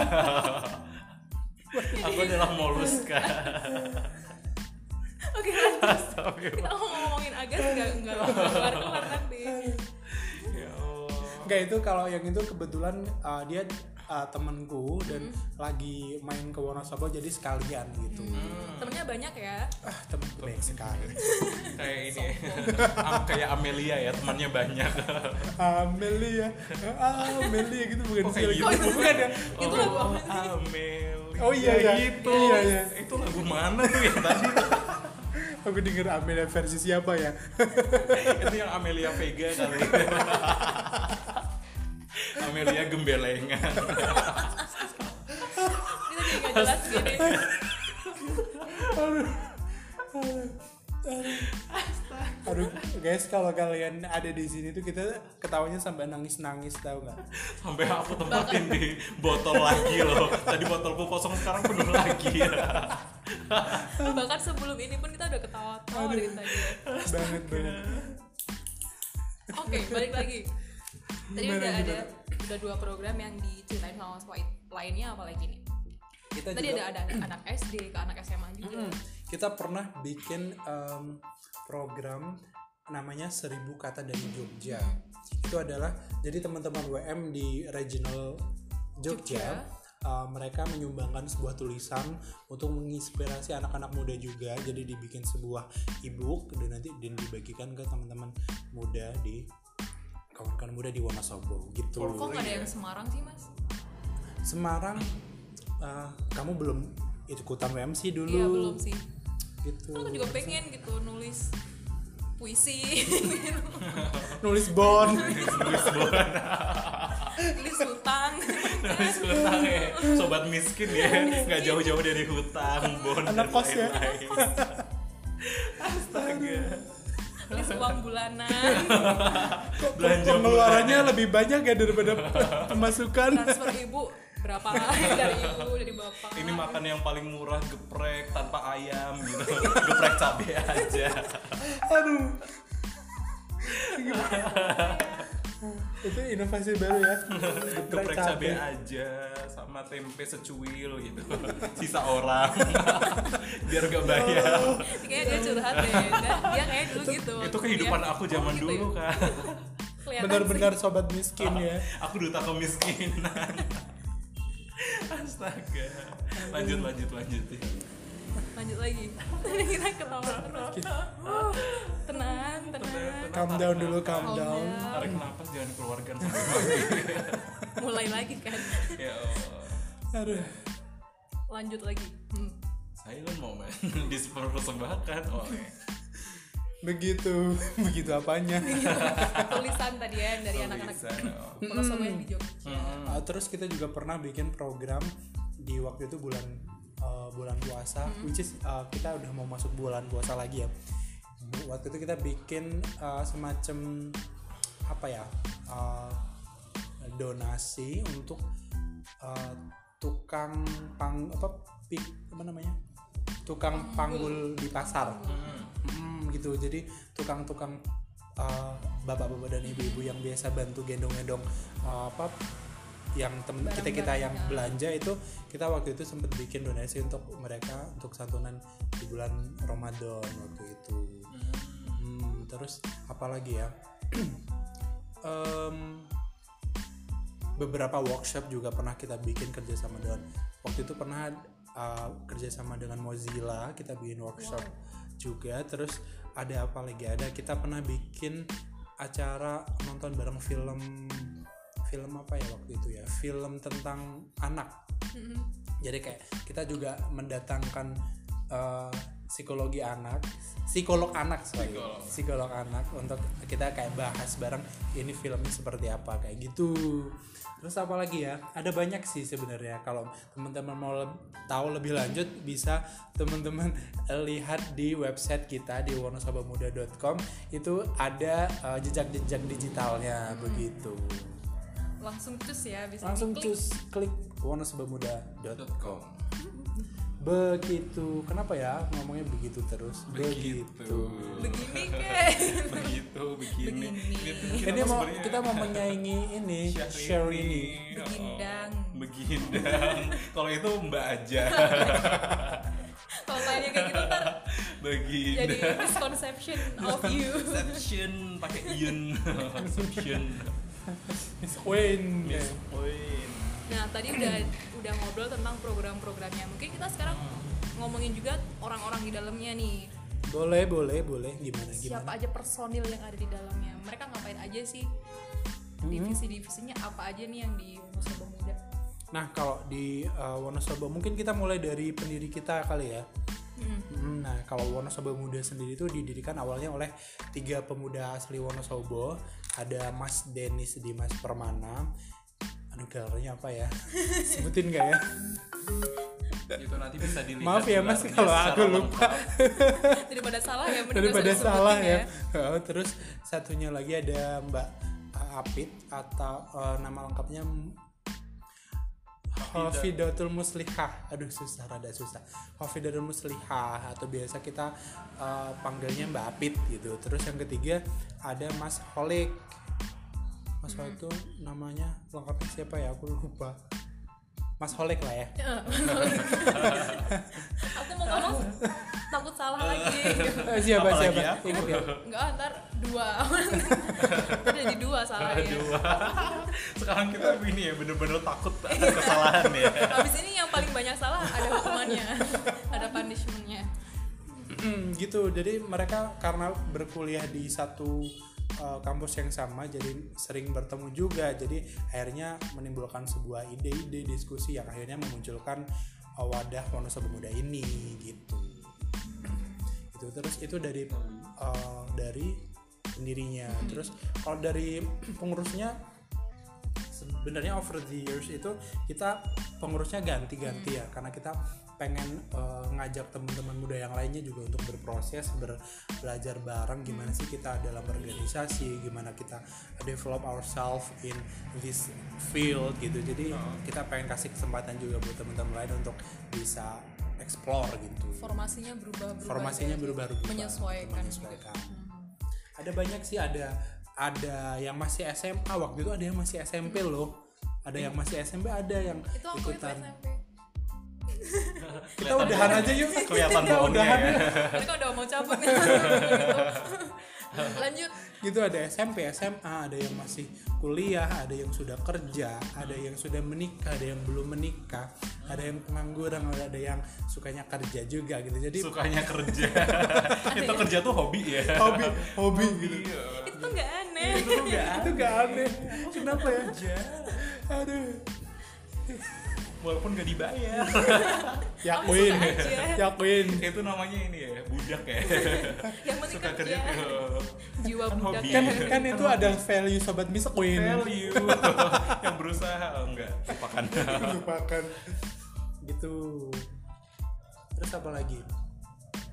C: aku adalah moluska
A: Oke, lanjut.
C: Astagfirullah.
A: kita mau ngomongin Agus nggak nggak keluar-keluar nanti.
C: ya Allah
B: Enggak itu kalau yang itu kebetulan uh, dia uh, temanku dan lagi main ke Wonosobo jadi sekalian gitu
A: Temennya banyak ya.
B: ah temanku baik sekali
C: kayak ini Am- kayak Amelia ya temannya banyak
B: Amelia Amelia gitu bukan
C: Oh, kayak
B: sih.
C: gitu.
B: bukan ya
A: Itu
C: oh,
A: lagu apa sih?
C: Amelia
B: Oh, iya, iya.
C: gitu
B: Iya, iya.
C: itu lagu mana tuh yang tadi
B: aku denger Amelia versi siapa ya
C: itu yang Amelia Vega
A: *laughs*
C: kali Amelia gembelengan
A: Kita jadi nggak
B: *laughs*
A: jelas gini.
B: aduh guys kalau kalian ada di sini tuh kita ketawanya sampai nangis nangis tau nggak
C: sampai aku tempatin di botol lagi loh tadi botolku kosong sekarang penuh
A: *laughs*
C: lagi
A: Bahkan sebelum ini pun kita udah ketawa-tawa dari tadi. ya.
B: banget banget
A: Oke, balik lagi. Tadi
B: Gimana,
A: udah
B: gimana?
A: ada udah dua program yang diceritain sama Mas Wahid. Lainnya apa lagi nih?
B: kita
A: Tadi
B: juga Hmm.
A: ada ada anak SD ke anak SMA juga.
B: Mm-mm. kita pernah bikin em, program namanya Seribu Kata dari Jogja itu adalah jadi teman-teman WM di regional Jogja,
A: Jogja.
B: eh, mereka menyumbangkan sebuah tulisan untuk menginspirasi anak-anak muda juga jadi dibikin sebuah e-book dan nanti dan dibagikan ke teman-teman muda di kawan-kawan muda di Wonosobo gitu
A: Kok nggak ada yang Semarang sih mas?
B: Semarang eh, kamu belum ikutan WM sih dulu
A: Iya belum sih.
B: gitu
A: Aku juga pengen gitu nulis puisi, *laughs*
B: nulis bon
A: nulis hutang.
C: nulis hutang ya sobat miskin ya nggak jauh-jauh dari hutang bon
B: Anak
C: dan
B: kos ya.
C: lain-lain. astaga
A: nulis uang bulanan,
B: Kok
C: Belanja
B: pengeluarannya lebih banyak ya daripada pemasukan
A: transfer ibu berapa *laughs* dari ibu dari bapak.
C: ini makan yang paling murah geprek tanpa ayam gitu geprek cabe aja
B: aduh itu inovasi baru ya geprek
C: geprek
B: cabe
C: cabe aja sama tempe secuil gitu *laughs* sisa orang *laughs* biar gak bayar
A: Kayaknya dia curhat deh. Dia- Dia kayak dulu gitu.
C: itu kehidupan
A: Dia-
C: aku zaman
A: Oh, gitu ya?
C: dulu kan
A: Kelihatan
B: benar-benar sobat miskin ya
C: *laughs* aku duta kemiskinan *laughs* astaga lanjut lanjut lanjut
A: sih. Lanjut lagi. *laughs* Tadi kita ketawa terus. Uh, tenang, tenang.
B: calm down dulu calm
A: Calm
B: down
A: down.
C: tarik nafas jangan keluarkan sampai
A: Mulai lagi kan.
C: mati. *laughs* ya Allah.
B: aduh
A: Lanjut lagi. Hmm.
C: *laughs* Oh, silent moment di persembahan oleh
B: begitu *laughs* begitu apanya *laughs*
A: tulisan tadi ya dari anak-anak
C: Tulisan, oh.
A: Wonosobo yang di Jogja.
C: Hmm.
B: Uh, terus kita juga pernah bikin program di waktu itu bulan uh, bulan puasa which is uh, kita udah mau masuk bulan puasa lagi ya Bu- waktu itu kita bikin uh, semacam apa ya uh, donasi untuk uh, tukang pang apa pik apa namanya tukang panggul di pasar Mm, gitu jadi tukang-tukang uh, bapak-bapak dan ibu-ibu yang biasa bantu gendong-gendong uh, apa yang temen kita kita yang belanja itu kita waktu itu sempat bikin donasi untuk mereka untuk santunan di bulan Ramadan waktu itu Hmm, terus apalagi ya *clears throat* Em, beberapa workshop juga pernah kita bikin kerjasama dengan waktu itu pernah uh, kerjasama dengan Mozilla kita bikin workshop juga terus ada apa lagi ada kita pernah bikin acara nonton bareng film film apa ya waktu itu ya film tentang anak jadi kayak kita juga mendatangkan uh, psikologi anak, psikolog anak sorry,
C: Psikolog.
B: psikolog. anak untuk kita kayak bahas bareng ini filmnya seperti apa kayak gitu. Terus apa lagi ya? Ada banyak sih sebenarnya kalau teman-teman mau leb- tahu lebih lanjut bisa teman-teman *laughs* lihat di website kita di wonosobamuda.com itu ada uh, jejak-jejak digitalnya begitu.
A: Langsung cus ya bisa
B: Hmm. Langsung
A: diklik.
B: cus klik wonosobamuda.com
C: .com.
B: Begitu. Kenapa ya ngomongnya begitu terus?
C: Begitu.
A: Begini kek.
C: Begitu, begini.
A: Begini.
B: Ini mau
C: sebenarnya-
B: kita mau menyaingi *laughs* ini Sharini.
C: Syahrini.
A: Begindang.
C: Iya, Oh, *laughs* Begindang. Kalau itu Mbak *laughs* aja.
A: Kalau tanya kayak gitu ntar jadi
C: Begindang.
A: misconception of you.
C: Inception pakai *laughs* Ian. Inception.
B: Miss Queen.
C: Miss Queen.
A: Nah tadi udah udah ngobrol tentang program-programnya. Mungkin kita sekarang ngomongin juga orang-orang di dalamnya nih.
B: Boleh, boleh, boleh. Gimana gimana?
A: Siapa aja personil yang ada di dalamnya? Mereka ngapain aja sih?
B: Hmm.
A: Divisi-divisinya apa aja nih yang di Wonosobo Muda?
B: Nah, kalau di uh, Wonosobo mungkin kita mulai dari pendiri kita kali ya.
A: Hmm.
B: Mm, Nah, kalau Wonosobo Muda sendiri itu didirikan awalnya oleh tiga pemuda asli Wonosobo. Ada Mas Denis Dimas Permana. Aduh, gelarnya apa ya? Sebutin gak ya?
C: Itu Gitu, nanti bisa dilihat.
B: Maaf ya, Mas,
C: gelarnya
B: kalau
C: secara
B: aku lupa.
C: lengkap.
A: *laughs* Daripada salah ya, mending
B: daripada
A: langsung disebutin
B: salah ya. Oh, terus satunya lagi ada Mbak eh, Apit atau eh, nama lengkapnya Hofidatul Muslihah. Aduh susah rada susah. Hofidatul Muslihah atau biasa kita eh, panggilnya Mbak Apit gitu. Terus yang ketiga ada Mas Holik. Mas Holik itu namanya lengkapnya siapa ya? Aku lupa. Mas Holik lah ya.
A: ya. aku mau
B: *laughs*
A: ngomong takut salah lagi
B: Eh, siapa
C: Apalagi
B: siapa?
C: aku.
B: Ingat ya?
A: enggak ah, ntar dua *laughs* Ntar jadi dua ya. salahnya
C: Dua. Sekarang kita ini ya bener-bener takut atas kesalahan
B: *laughs*
C: ya.
A: habis ini yang paling banyak salah ada hukumannya ada punishmentnya
B: Mm, gitu jadi mereka karena berkuliah di satu uh, kampus yang sama jadi sering bertemu juga jadi akhirnya menimbulkan sebuah ide-ide diskusi yang akhirnya memunculkan uh, wadah Wonosobo Muda ini gitu itu Gitu. terus itu dari uh, dari pendirinya terus kalau dari pengurusnya sebenarnya over the years itu kita pengurusnya ganti-ganti ya karena kita pengen eh, ngajak teman-teman muda yang lainnya juga untuk berproses ber- belajar bareng gimana sih kita dalam organisasi gimana kita develop ourselves in this field gitu jadi kita pengen kasih kesempatan juga buat teman-teman lain untuk bisa explore gitu
A: formasinya berubah berubah
B: formasinya berubah-ubah
A: menyesuaikan,
B: menyesuaikan. ada banyak sih ada ada yang masih SMA waktu itu ada yang masih SMP loh ada yang masih SMP ada yang
A: Juga. Hmm. itu aku itu
B: ikutan
A: SMP
B: kita udahan aja yuk
C: Kelihatan
B: kita
C: bohongnya
B: udahan
C: ya.
B: yuk.
A: mereka udah mau cabut
B: *laughs*
A: nih lanjut
B: gitu ada SMP SMA ada yang masih kuliah ada yang sudah kerja ada yang sudah menikah ada yang belum menikah ada yang pengangguran ada yang sukanya kerja juga gitu jadi
C: Sukanya
B: *laughs*
C: kerja. itu kerja tuh hobi ya.
B: hobi hobi gitu
C: Iya.
A: itu tuh nggak aneh
B: Iya. itu gak aneh kenapa ya aduh
C: walaupun gak dibayar
B: yakuin
A: Langsung aja.
B: yakuin
C: itu namanya ini ya budak
B: *laughs*
C: ya
A: yang penting
C: suka kerja
A: kerja
B: Iya.
C: tuh
A: jiwa
C: Kan
A: budak ya.
C: hobi.
B: kan kan itu ada value sobat miss queen
C: value yang berusaha oh, enggak lupakan
B: lupakan gitu terus apa lagi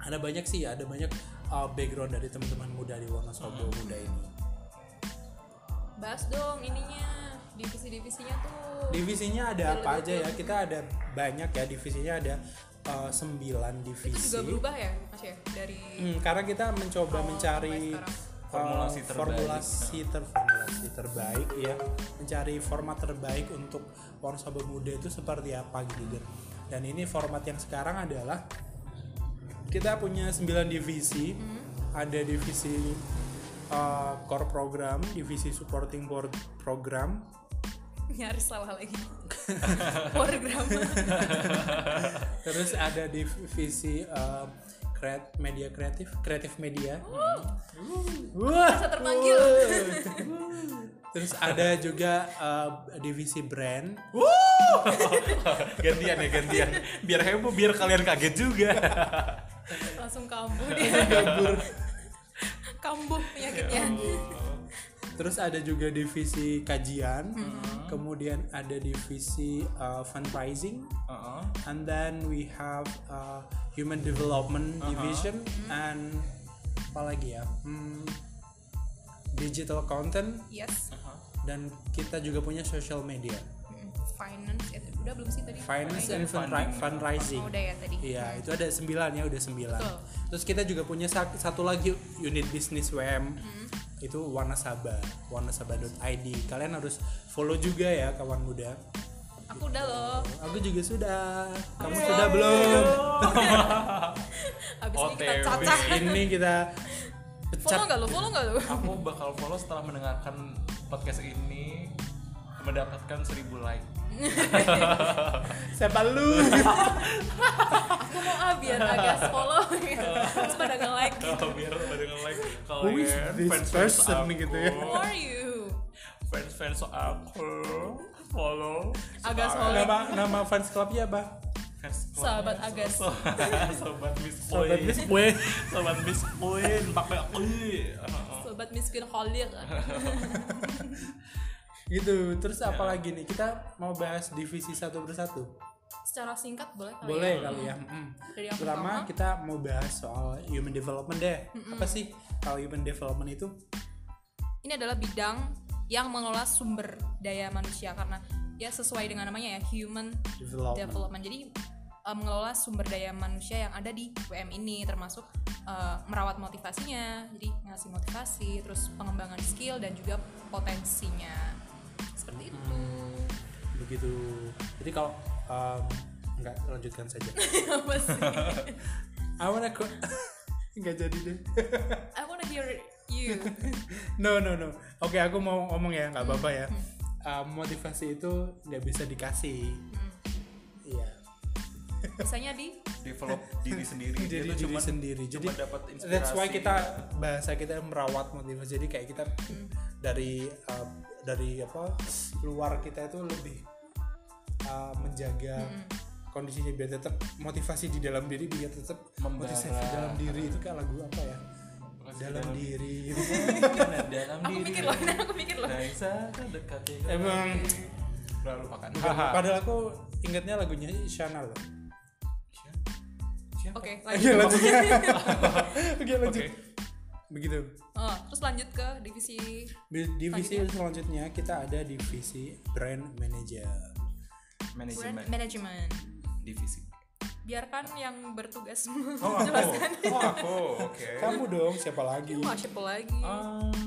B: ada banyak sih ya ada banyak uh, background dari teman-teman muda di Wonosobo
A: Hmm.
B: muda ini
A: bahas dong ininya divisi-divisinya tuh Iya,
B: divisinya ada apa aja ya
A: Betul-betul.
B: kita ada banyak ya divisinya ada uh, sembilan
A: itu
B: divisi
A: juga berubah ya mas ya dari
B: Hmm, karena kita mencoba
A: Awal
B: mencari
A: sampai sekarang.
B: uh,
C: Formulasi terbaik.
B: formulasi ter- formulasi terbaik ya mencari format terbaik untuk Wonosobo muda itu seperti apa gitu Ger. dan ini format yang sekarang adalah kita punya 9 divisi ada divisi uh, core program divisi supporting board program
A: nyaris salah lagi program
B: *laughs* terus ada divisi uh, create- media kreatif kreatif media Wah.
A: Merasa terpanggil.
B: terus ada juga uh, divisi brand
C: gantian ya gantian biar heboh biar kalian kaget juga
A: langsung kambuh dia kambuh penyakitnya
B: terus ada juga divisi kajian kemudian ada divisi uh, fundraising
C: Heeh.
B: and then we have uh, human development division and apa lagi ya Hmm, digital content
A: yes
C: Heeh.
B: dan kita juga punya social media
A: Mm, finance ya, udah belum sih tadi
B: finance and fundri-
C: Funding.
B: fundraising
A: Oh, udah ya tadi
B: iya itu ada sembilan ya udah sembilan
A: Betul.
B: terus kita juga punya sa- satu lagi unit bisnis WM itu Wanasaba wanasaba.id kalian harus follow juga ya kawan muda
A: aku udah loh
B: aku juga sudah kamu
A: Yeay.
B: sudah belum
A: abis
B: Oh,
A: ini kita
C: OTW.
A: cacah
B: ini kita pecat
A: follow nggak lo follow nggak lo
C: aku bakal follow setelah mendengarkan podcast ini mendapatkan 1000 like
B: siapa lu
A: aku mau ah biar agak
B: *laughs*
A: follow terus pada nge like
C: Oh, biar pada nge like
B: Who is
C: kalian
B: this
C: fans fans
B: person
C: aku
B: gitu ya?
A: who are you
C: fans fans aku follow
A: Agak
C: Sobat-
A: solid.
B: nama nama fans clubnya apa
C: fans club.
A: Sahabat Agas.
C: So- *laughs* sobat miss
B: sobat
C: Queen.
B: Miss Queen.
C: sobat miss Queen pakai kui
A: sobat miskin holir
B: gitu terus apa lagi nih kita mau bahas divisi satu persatu
A: secara singkat boleh kali
B: boleh
A: ya?
B: kali ya Mm.
A: Dari yang
B: pertama
A: pertama.
B: kita mau bahas soal human development deh apa sih kalau human development itu
A: ini adalah bidang yang mengelola sumber daya manusia karena ya sesuai dengan namanya ya human
B: development,
A: development. Jadi eh, mengelola sumber daya manusia yang ada di WM ini termasuk eh, merawat motivasinya, jadi ngasih motivasi, terus pengembangan skill dan juga potensinya. Seperti
B: *laughs*
A: itu.
B: Hmm, begitu jadi kalau um, nggak lanjutkan
A: *laughs*
B: saja
A: Apa sih?
B: I wanna co- *laughs* nggak jadi deh
A: I wanna hear you.
B: no no no oke aku mau ngomong ya nggak apa-apa ya Um, motivasi itu nggak bisa dikasih iya
A: Biasanya di
C: develop diri sendiri
B: jadi
C: Itu
B: diri
C: cuman-
B: sendiri jadi
C: cuman dapat inspirasi
B: that's why kita bahasa kita merawat motivasi jadi kayak kita
C: Hmm.
B: dari uh, dari apa luar kita itu lebih uh, menjaga
C: Hmm.
B: kondisinya biar tetap motivasi di dalam diri biar tetap
C: Membara.
B: motivasi di dalam diri itu kayak lagu apa ya
C: Motivasi
B: dalam
C: dalam
B: diri gitu.
C: *laughs* dalam
A: aku
C: diri
A: mikir loh, *laughs* nah, aku mikir loh.
C: dari sana dekat dengan
B: Emang.
C: diri. ya. Udah, lupakan
B: padahal aku ingatnya lagunya Shana loh
C: Siapa?
A: Oke,
B: oke
A: lanjut.
B: lanjut
C: *laughs*
B: oke lanjut
C: Oke.
B: begitu
A: Oh, terus lanjut ke divisi
B: Di- divisi selanjutnya kita ada divisi brand manager
A: brand
C: manajemen
A: management.
C: divisi
A: Biarkan yang bertugas *laughs*
C: oh aku
A: menjelaskan.
C: oh aku oke
B: Kamu dong, siapa lagi?
A: Wah, siapa lagi?
C: Um,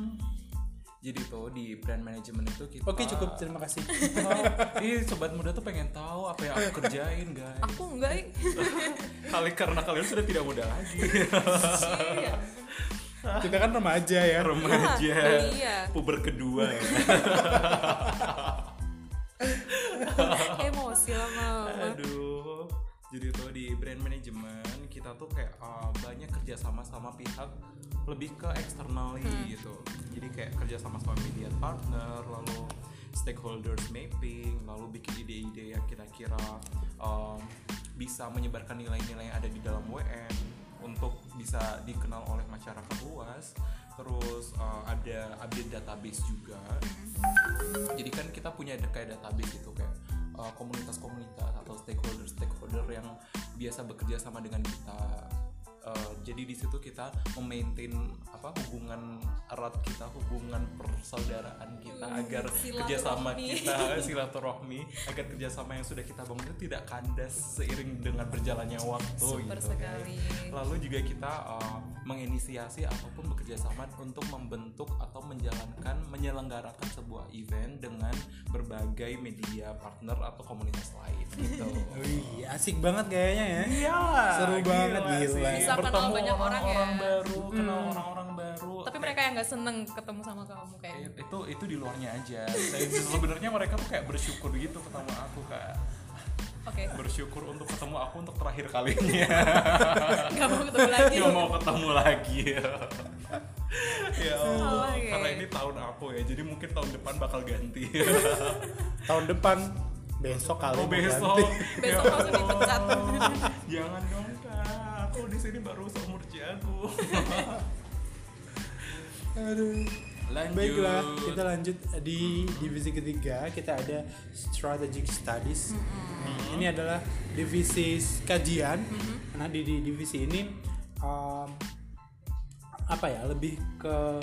C: jadi tuh di brand manajemen itu kita
B: Oke cukup, terima
C: *laughs*
B: kasih.
C: Oh, Ih, sobat muda tuh pengen tahu apa yang aku kerjain, guys.
A: Aku enggak. eh. ih.
C: Kali karena kalian sudah tidak muda lagi.
A: Iya.
B: Kita kan remaja ya.
C: Remaja.
A: Ah, iya.
C: Puber kedua.
A: *laughs* Emosi lama-lama.
C: Aduh. Jadi tuh di brand manajemen kita tuh kayak uh, banyak kerjasama sama pihak lebih ke eksternal gitu. Jadi kayak kerjasama sama media partner lalu stakeholders mapping, lalu bikin ide-ide yang kira-kira um, bisa menyebarkan nilai-nilai yang ada di dalam WM untuk bisa dikenal oleh masyarakat luas. Terus uh, ada update database juga. Jadi kan kita punya ada kayak database gitu kayak uh, komunitas-komunitas atau stakeholder-stakeholder yang biasa bekerja sama dengan kita Uh, jadi di situ kita memaintain apa hubungan erat kita, hubungan persaudaraan kita
A: Hmm,
C: agar
A: silaturahmi.
C: kerjasama kita *laughs* silaturahmi agar kerjasama yang sudah kita bangun itu tidak kandas seiring dengan berjalannya waktu
A: Super
C: gitu kan.
A: sekali.
C: Lalu juga kita uh, menginisiasi ataupun bekerjasama untuk membentuk atau menjalankan menyelenggarakan sebuah event dengan berbagai media partner atau komunitas lain
A: *laughs*
C: gitu.
B: Wih, asik banget kayaknya ya.
C: Iya,
B: Seru banget, gila.
A: Bisa kenal
C: Bertemu
A: banyak orang ya.
C: orang-orang baru, kenal orang-orang baru.
A: Tapi mereka yang nggak seneng ketemu sama kamu kayak
C: Eh, itu itu di luarnya aja. Saya- *laughs* Sebenarnya mereka tuh kayak bersyukur gitu ketemu aku kak.
A: oke
C: Bersyukur untuk ketemu aku untuk terakhir kalinya. *laughs*
A: nggak mau ketemu lagi.
C: Gak mau ketemu lagi. ya Allah,
A: Salah, ya.
C: karena ini tahun aku ya, jadi mungkin tahun depan bakal ganti.
B: Tahun depan besok kali mau
C: Kalau Oh, besok,
B: ganti.
A: Besok
C: Ya
A: langsung dipecat.
C: Allah, *laughs* Jangan dong kak, aku di sini baru seumur jagung.
B: Aduh.
C: Lanjut.
B: Baiklah, kita lanjut di divisi ketiga kita ada strategic studies. Ini adalah divisi kajian. Nah di, di divisi ini um, apa ya lebih ke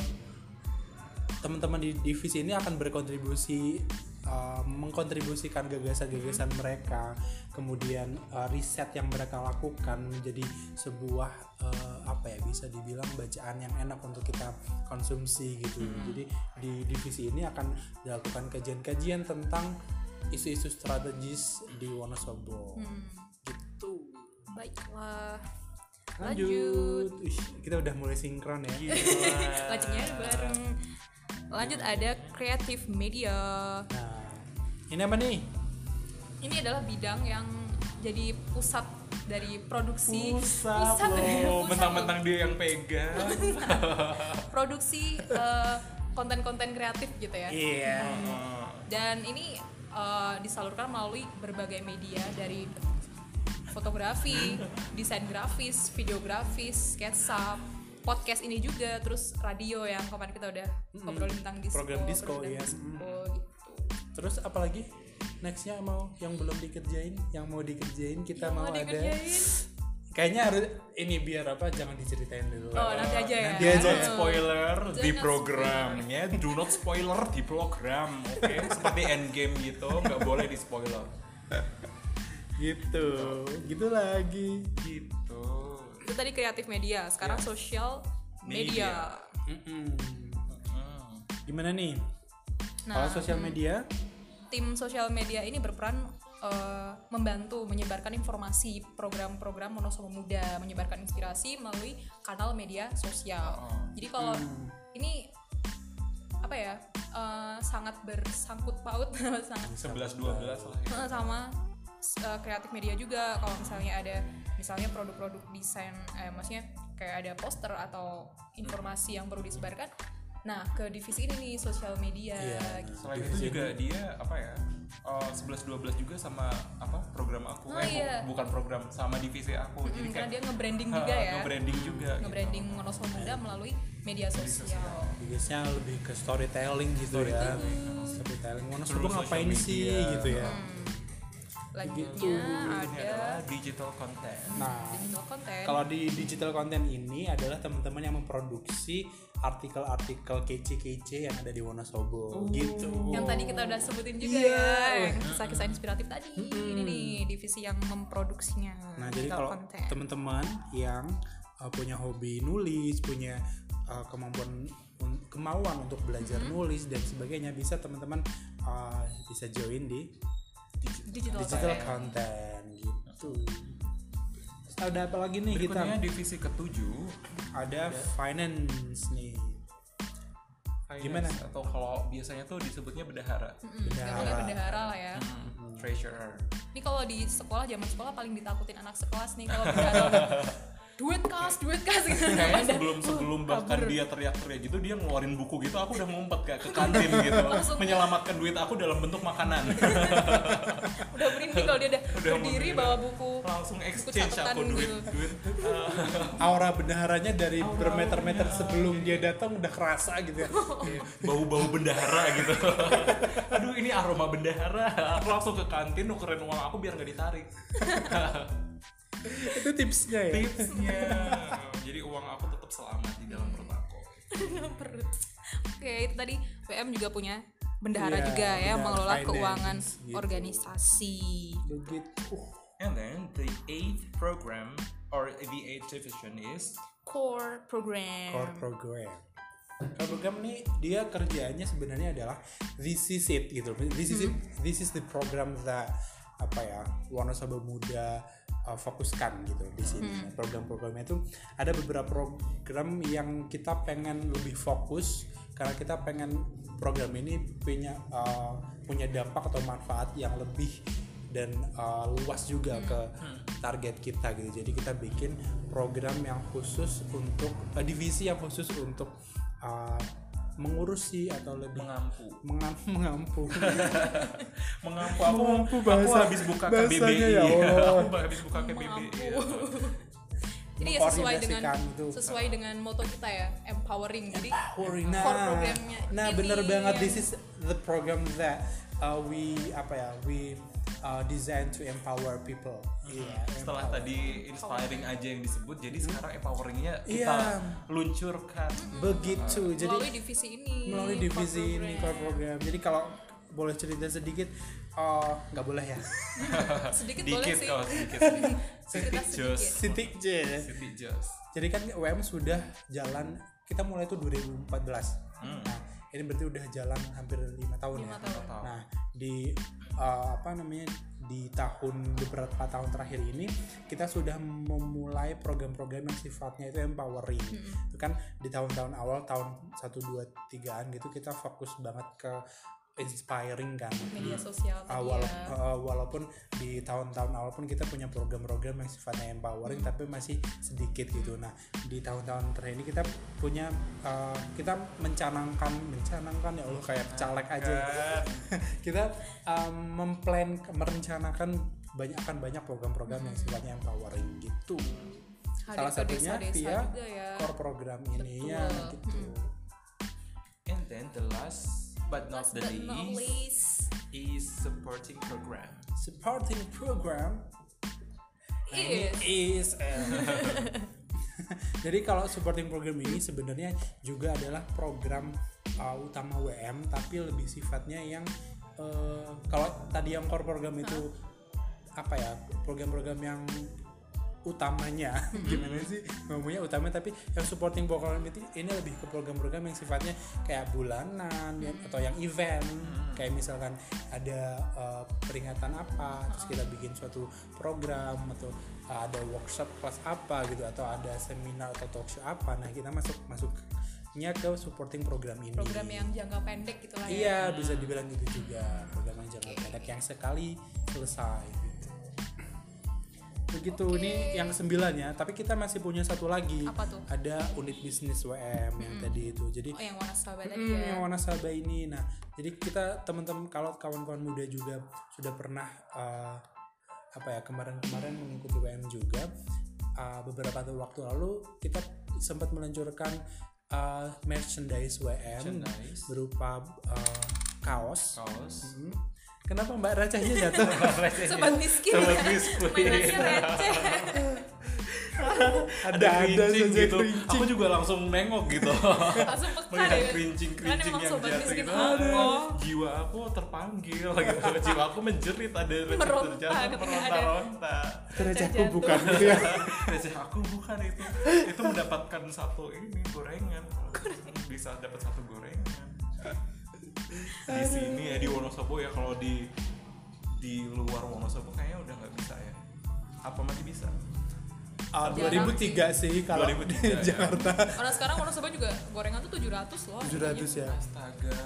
B: teman-teman di divisi ini akan berkontribusi uh, mengkontribusikan gagasan-gagasan
A: Hmm.
B: mereka, kemudian uh, riset yang mereka lakukan menjadi sebuah uh, apa ya bisa dibilang bacaan yang enak untuk kita konsumsi gitu.
A: Hmm.
B: Jadi di divisi ini akan dilakukan kajian-kajian tentang isu-isu strategis di Wonosobo.
A: Hmm,
B: Gitu.
A: baiklah.
B: Lanjut.
A: Lanjut. Iya.
B: Ih, kita udah mulai sinkron ya.
A: *laughs* Lanjutnya bareng. Lanjut ada kreatif media.
B: Nah, ini apa nih?
A: Ini adalah bidang yang jadi pusat dari produksi
B: Pusat
A: pusat
C: Oh,
A: loh.
C: mentang-mentang dia yang pegang.
A: produksi eh, konten-konten kreatif gitu ya.
B: Iya.
C: Heeh.
A: Dan ini eh, disalurkan melalui berbagai media dari fotografi, desain grafis, video grafis, sketsa, podcast ini juga, terus radio yang kemarin kita udah ngobrolin tentang disco,
B: Program disco,
A: program
B: ya.
A: disco, gitu.
B: Terus apalagi nextnya mau yang belum dikerjain, yang mau dikerjain
A: Yang
B: kita mau,
A: mau
B: ada.
A: dikerjain.
B: Kayaknya harus ini biar apa? Jangan diceritain dulu.
A: Oh, nanti aja ya.
B: Nanti aja.
C: Jangan
B: Jangan
C: spoiler di
A: spoiler.
C: programnya. Do not spoiler di program. Oke, seperti endgame gitu, nggak boleh di spoiler.
B: Gitu, gitu lagi.
C: Gitu.
A: Itu tadi kreatif media, sekarang social media.
B: Mm-mm.
C: Hmm.
B: Gimana nih?
A: Nah,
B: Kalau sosial media,
A: tim sosial media ini berperan eh, membantu menyebarkan informasi program-program Monosomo Muda, menyebarkan inspirasi melalui kanal media sosial.
C: Oh.
A: Jadi kalau ini apa ya eh, sangat bersangkut paut *laughs* sangat
C: 11 12 lah ya.
A: Eh, sama eh, kreatif media juga kalau misalnya ada misalnya produk-produk desain eh, maksudnya kayak ada poster atau informasi yang perlu disebarkan nah ke divisi ini nih sosial media
B: Iya.
A: gitu.
C: Selain itu juga dia apa ya? eh, 11 12 juga sama apa program aku.
A: Oh,
C: eh, bu-
A: iya.
C: bukan program sama divisi aku.
A: Mm-mm,
C: Jadi
A: Hmm, karena
C: kayak
A: dia nge-branding
B: Iya.
C: ha,
A: juga ya
C: nge-branding juga. gitu.
A: nge-branding Monosomo Muda melalui media sosial
B: biasanya lebih ke storytelling gitu ya. Storytelling. Wonosobo
C: Terus sosial
B: ngapain sih
C: media.
B: gitu ya? Gitu.
A: lanjutnya ada
C: Ini adalah digital content.
B: Nah,
A: digital content
B: Kalau di digital content ini adalah teman-teman yang memproduksi artikel-artikel kece-kece yang ada di
A: Oh.
B: Wonosobo gitu.
A: yang tadi kita udah sebutin juga
B: Iya.
A: ya yang kisah-kisah inspiratif tadi ini nih divisi yang memproduksinya
B: Nah, jadi
A: digital
B: kalau
A: content.
B: teman-teman yang uh, punya hobi nulis, punya uh, kemampuan un- kemauan untuk belajar
A: Mm-hmm.
B: nulis dan sebagainya bisa teman-teman uh, bisa join di
A: digital,
B: digital
A: content.
B: content gitu. Terus ada apa lagi nih kita?
C: Berikutnya divisi ketujuh
B: Ada finance nih.
C: finance,
B: Gimana?
C: atau kalau biasanya tuh disebutnya bendahara.
A: Mm, pokoknya bendahara lah ya
C: Hmm, treasurer.
A: ini kalau di sekolah zaman sekolah paling ditakutin anak sekelas nih kalau bendahara duit kas duit kas gitu
C: kayaknya
A: Ada,
C: sebelum sebelum
A: "Wah,
C: bahkan
A: kabur."
C: dia teriak-teriak gitu dia ngeluarin buku gitu aku udah ngumpet kayak ke kantin gitu
A: Langsung. ya.
C: menyelamatkan duit aku dalam bentuk makanan
A: udah merinding kalau dia udah,
C: Udah
A: berdiri
C: mau-
A: bawa buku *laughs*
C: langsung exchange
A: catatan
C: aku duit
A: gitu.
C: duit eh,
B: aura bendaharanya dari bermeter-meter sebelum dia datang udah kerasa gitu ya.
C: bau-bau bendahara gitu *laughs* aduh ini aroma bendahara aku langsung ke kantin nukerin uang aku biar nggak ditarik
B: itu tipsnya ya
C: tipsnya jadi uang aku tetap selamat di dalam perut aku
A: dalam perut oke itu tadi PM juga punya bendahara
B: Iya,
A: juga ya
B: bendahara
A: mengelola
B: finance,
A: keuangan
B: gitu.
A: organisasi
B: begitu
C: and then the eighth program or the eighth division is
A: core program
B: core program core program ini dia kerjaannya sebenarnya adalah this is it gitu this is it this is the program that apa ya Wonosobo muda uh, fokuskan gitu di sini program-programnya itu ada beberapa program yang kita pengen lebih fokus karena kita pengen program ini punya uh, punya dampak atau manfaat yang lebih dan uh, luas juga ke target kita gitu. Jadi kita bikin program yang khusus untuk eh, divisi yang khusus untuk uh, mengurusi atau lebih
C: mengampu
B: *laughs* mengam, mengampu
C: mengampu aku
B: Mengampu
C: aku
B: bahasa-
C: habis buka
B: bahasanya
C: KBBI
B: ya Allah.
C: *laughs* aku habis buka KBBI
A: Mengampu. *laughs* jadi ya sesuai dengan
B: Mengkoordinasikan itu.
A: sesuai dengan moto kita ya empowering jadi
B: Worry,
A: core
B: nah,
A: programnya
B: nah
A: ini
B: bener banget
A: yang-
B: this is the program that uh, we apa ya we uh, design to empower people. Iya,
C: setelah
B: empower.
C: tadi inspiring aja yang disebut jadi sekarang empoweringnya kita
B: Hmm. Iya.
C: luncurkan
B: begitu. Jadi
A: melalui divisi ini
B: melalui
A: core
B: divisi ini core
A: program.
B: program. Jadi kalau boleh cerita sedikit eh, nggak boleh ya
A: sedikit boleh
C: dikit oh.
A: sih
C: kalau sedikit
A: cerita
C: Sedikit,
A: sedikit
C: Jos.
B: Sitik J
C: City Jazz
B: jadi kan UM sudah jalan kita mulai tuh 2014 nah ini berarti udah jalan hampir lima tahun
A: Lima
B: ya
A: tahun.
B: nah di eh, apa namanya di tahun beberapa tahun terakhir ini kita sudah memulai program-program yang sifatnya itu empowering itu kan di tahun-tahun awal tahun 1 2 3-an gitu kita fokus banget ke inspiring kan
A: media sosial
B: Uh,
A: tadi
B: wala-
A: ya
B: uh, walaupun di tahun-tahun awal pun kita punya program-program yang sifatnya empowering tapi masih sedikit gitu nah di tahun-tahun terakhir ini kita punya uh, kita mencanangkan mencanangkan ya Allah kayak caleg aja gitu. *laughs* kita um, memplan merencanakan banyak akan banyak program-program yang sifatnya empowering gitu
A: Hadir
B: salah
A: ke
B: satunya
A: desa-desa
B: via
A: juga ya.
B: core program ininya
A: Betul.
B: gitu
C: and then the last but not
A: last
C: the
A: but not
C: least
A: least
C: is supporting program
B: supporting program
C: Iya.
A: is
B: is eh. *laughs* jadi kalau supporting program ini sebenarnya juga adalah program uh, utama WM tapi lebih sifatnya yang uh, kalau tadi yang core program itu apa ya program-program yang utamanya *laughs* gimana sih ngomongnya utama tapi yang supporting program itu ini lebih ke program-program yang sifatnya kayak bulanan ya, atau yang event kayak misalkan ada uh, peringatan apa terus kita bikin suatu program atau uh, ada workshop kelas apa gitu atau ada seminar atau talk show apa nah kita masuk masuknya ke supporting program ini
A: program yang jangka pendek gitu lah ya
B: iya bisa dibilang gitu juga program yang jangka pendek yang sekali selesai gitu. begitu
A: Oke.
B: ini yang sembilan ya tapi kita masih punya satu lagi
A: Apa tuh?
B: ada unit bisnis WM yang tadi itu jadi
A: oh yang Wanasaba tadi
B: Hmm,
A: ya
B: yang Wanasaba ini. Nah, jadi kita teman-teman kalau kawan-kawan muda juga sudah pernah eh, apa ya kemarin-kemarin mengikuti WM juga eh, beberapa waktu lalu kita sempat meluncurkan eh, merchandise WM
C: Merchandise.
B: berupa eh, kaos.
C: kaos
B: Hmm. Kenapa Mbak Racahnya jatuh?
A: sobat miskin
C: Sobat
A: ya. *laughs*
C: miskin.
A: mainannya receh
C: ada
B: saja
C: kerincing gitu
B: kerincing.
C: aku juga langsung nengok
B: *laughs*
C: gitu
A: langsung peka
C: melihat
A: ya Kan
C: kerincing-kerincing
A: emang
C: yang
A: sobat
C: jatuh
A: miskin
C: gitu
A: aku
C: jiwa aku terpanggil gitu jiwa aku menjerit ada receh
A: Meronta
C: terjatuh
A: ketika ada-
C: meronta-ronta
B: Recahku
A: jatuh.
B: bukan gitu ya.
C: receh aku bukan itu itu mendapatkan satu ini gorengan bisa dapat satu gorengan di sini ya di Wonosobo ya kalau di di luar Wonosobo kayaknya udah nggak bisa ya apa masih bisa
B: Ah,
A: Jarang
B: 2003 sih kalau di
C: 2003 ya.
B: Jakarta.
A: orang sekarang orang sobat juga gorengan tuh 700 loh
B: 700 ya.
C: Astaga,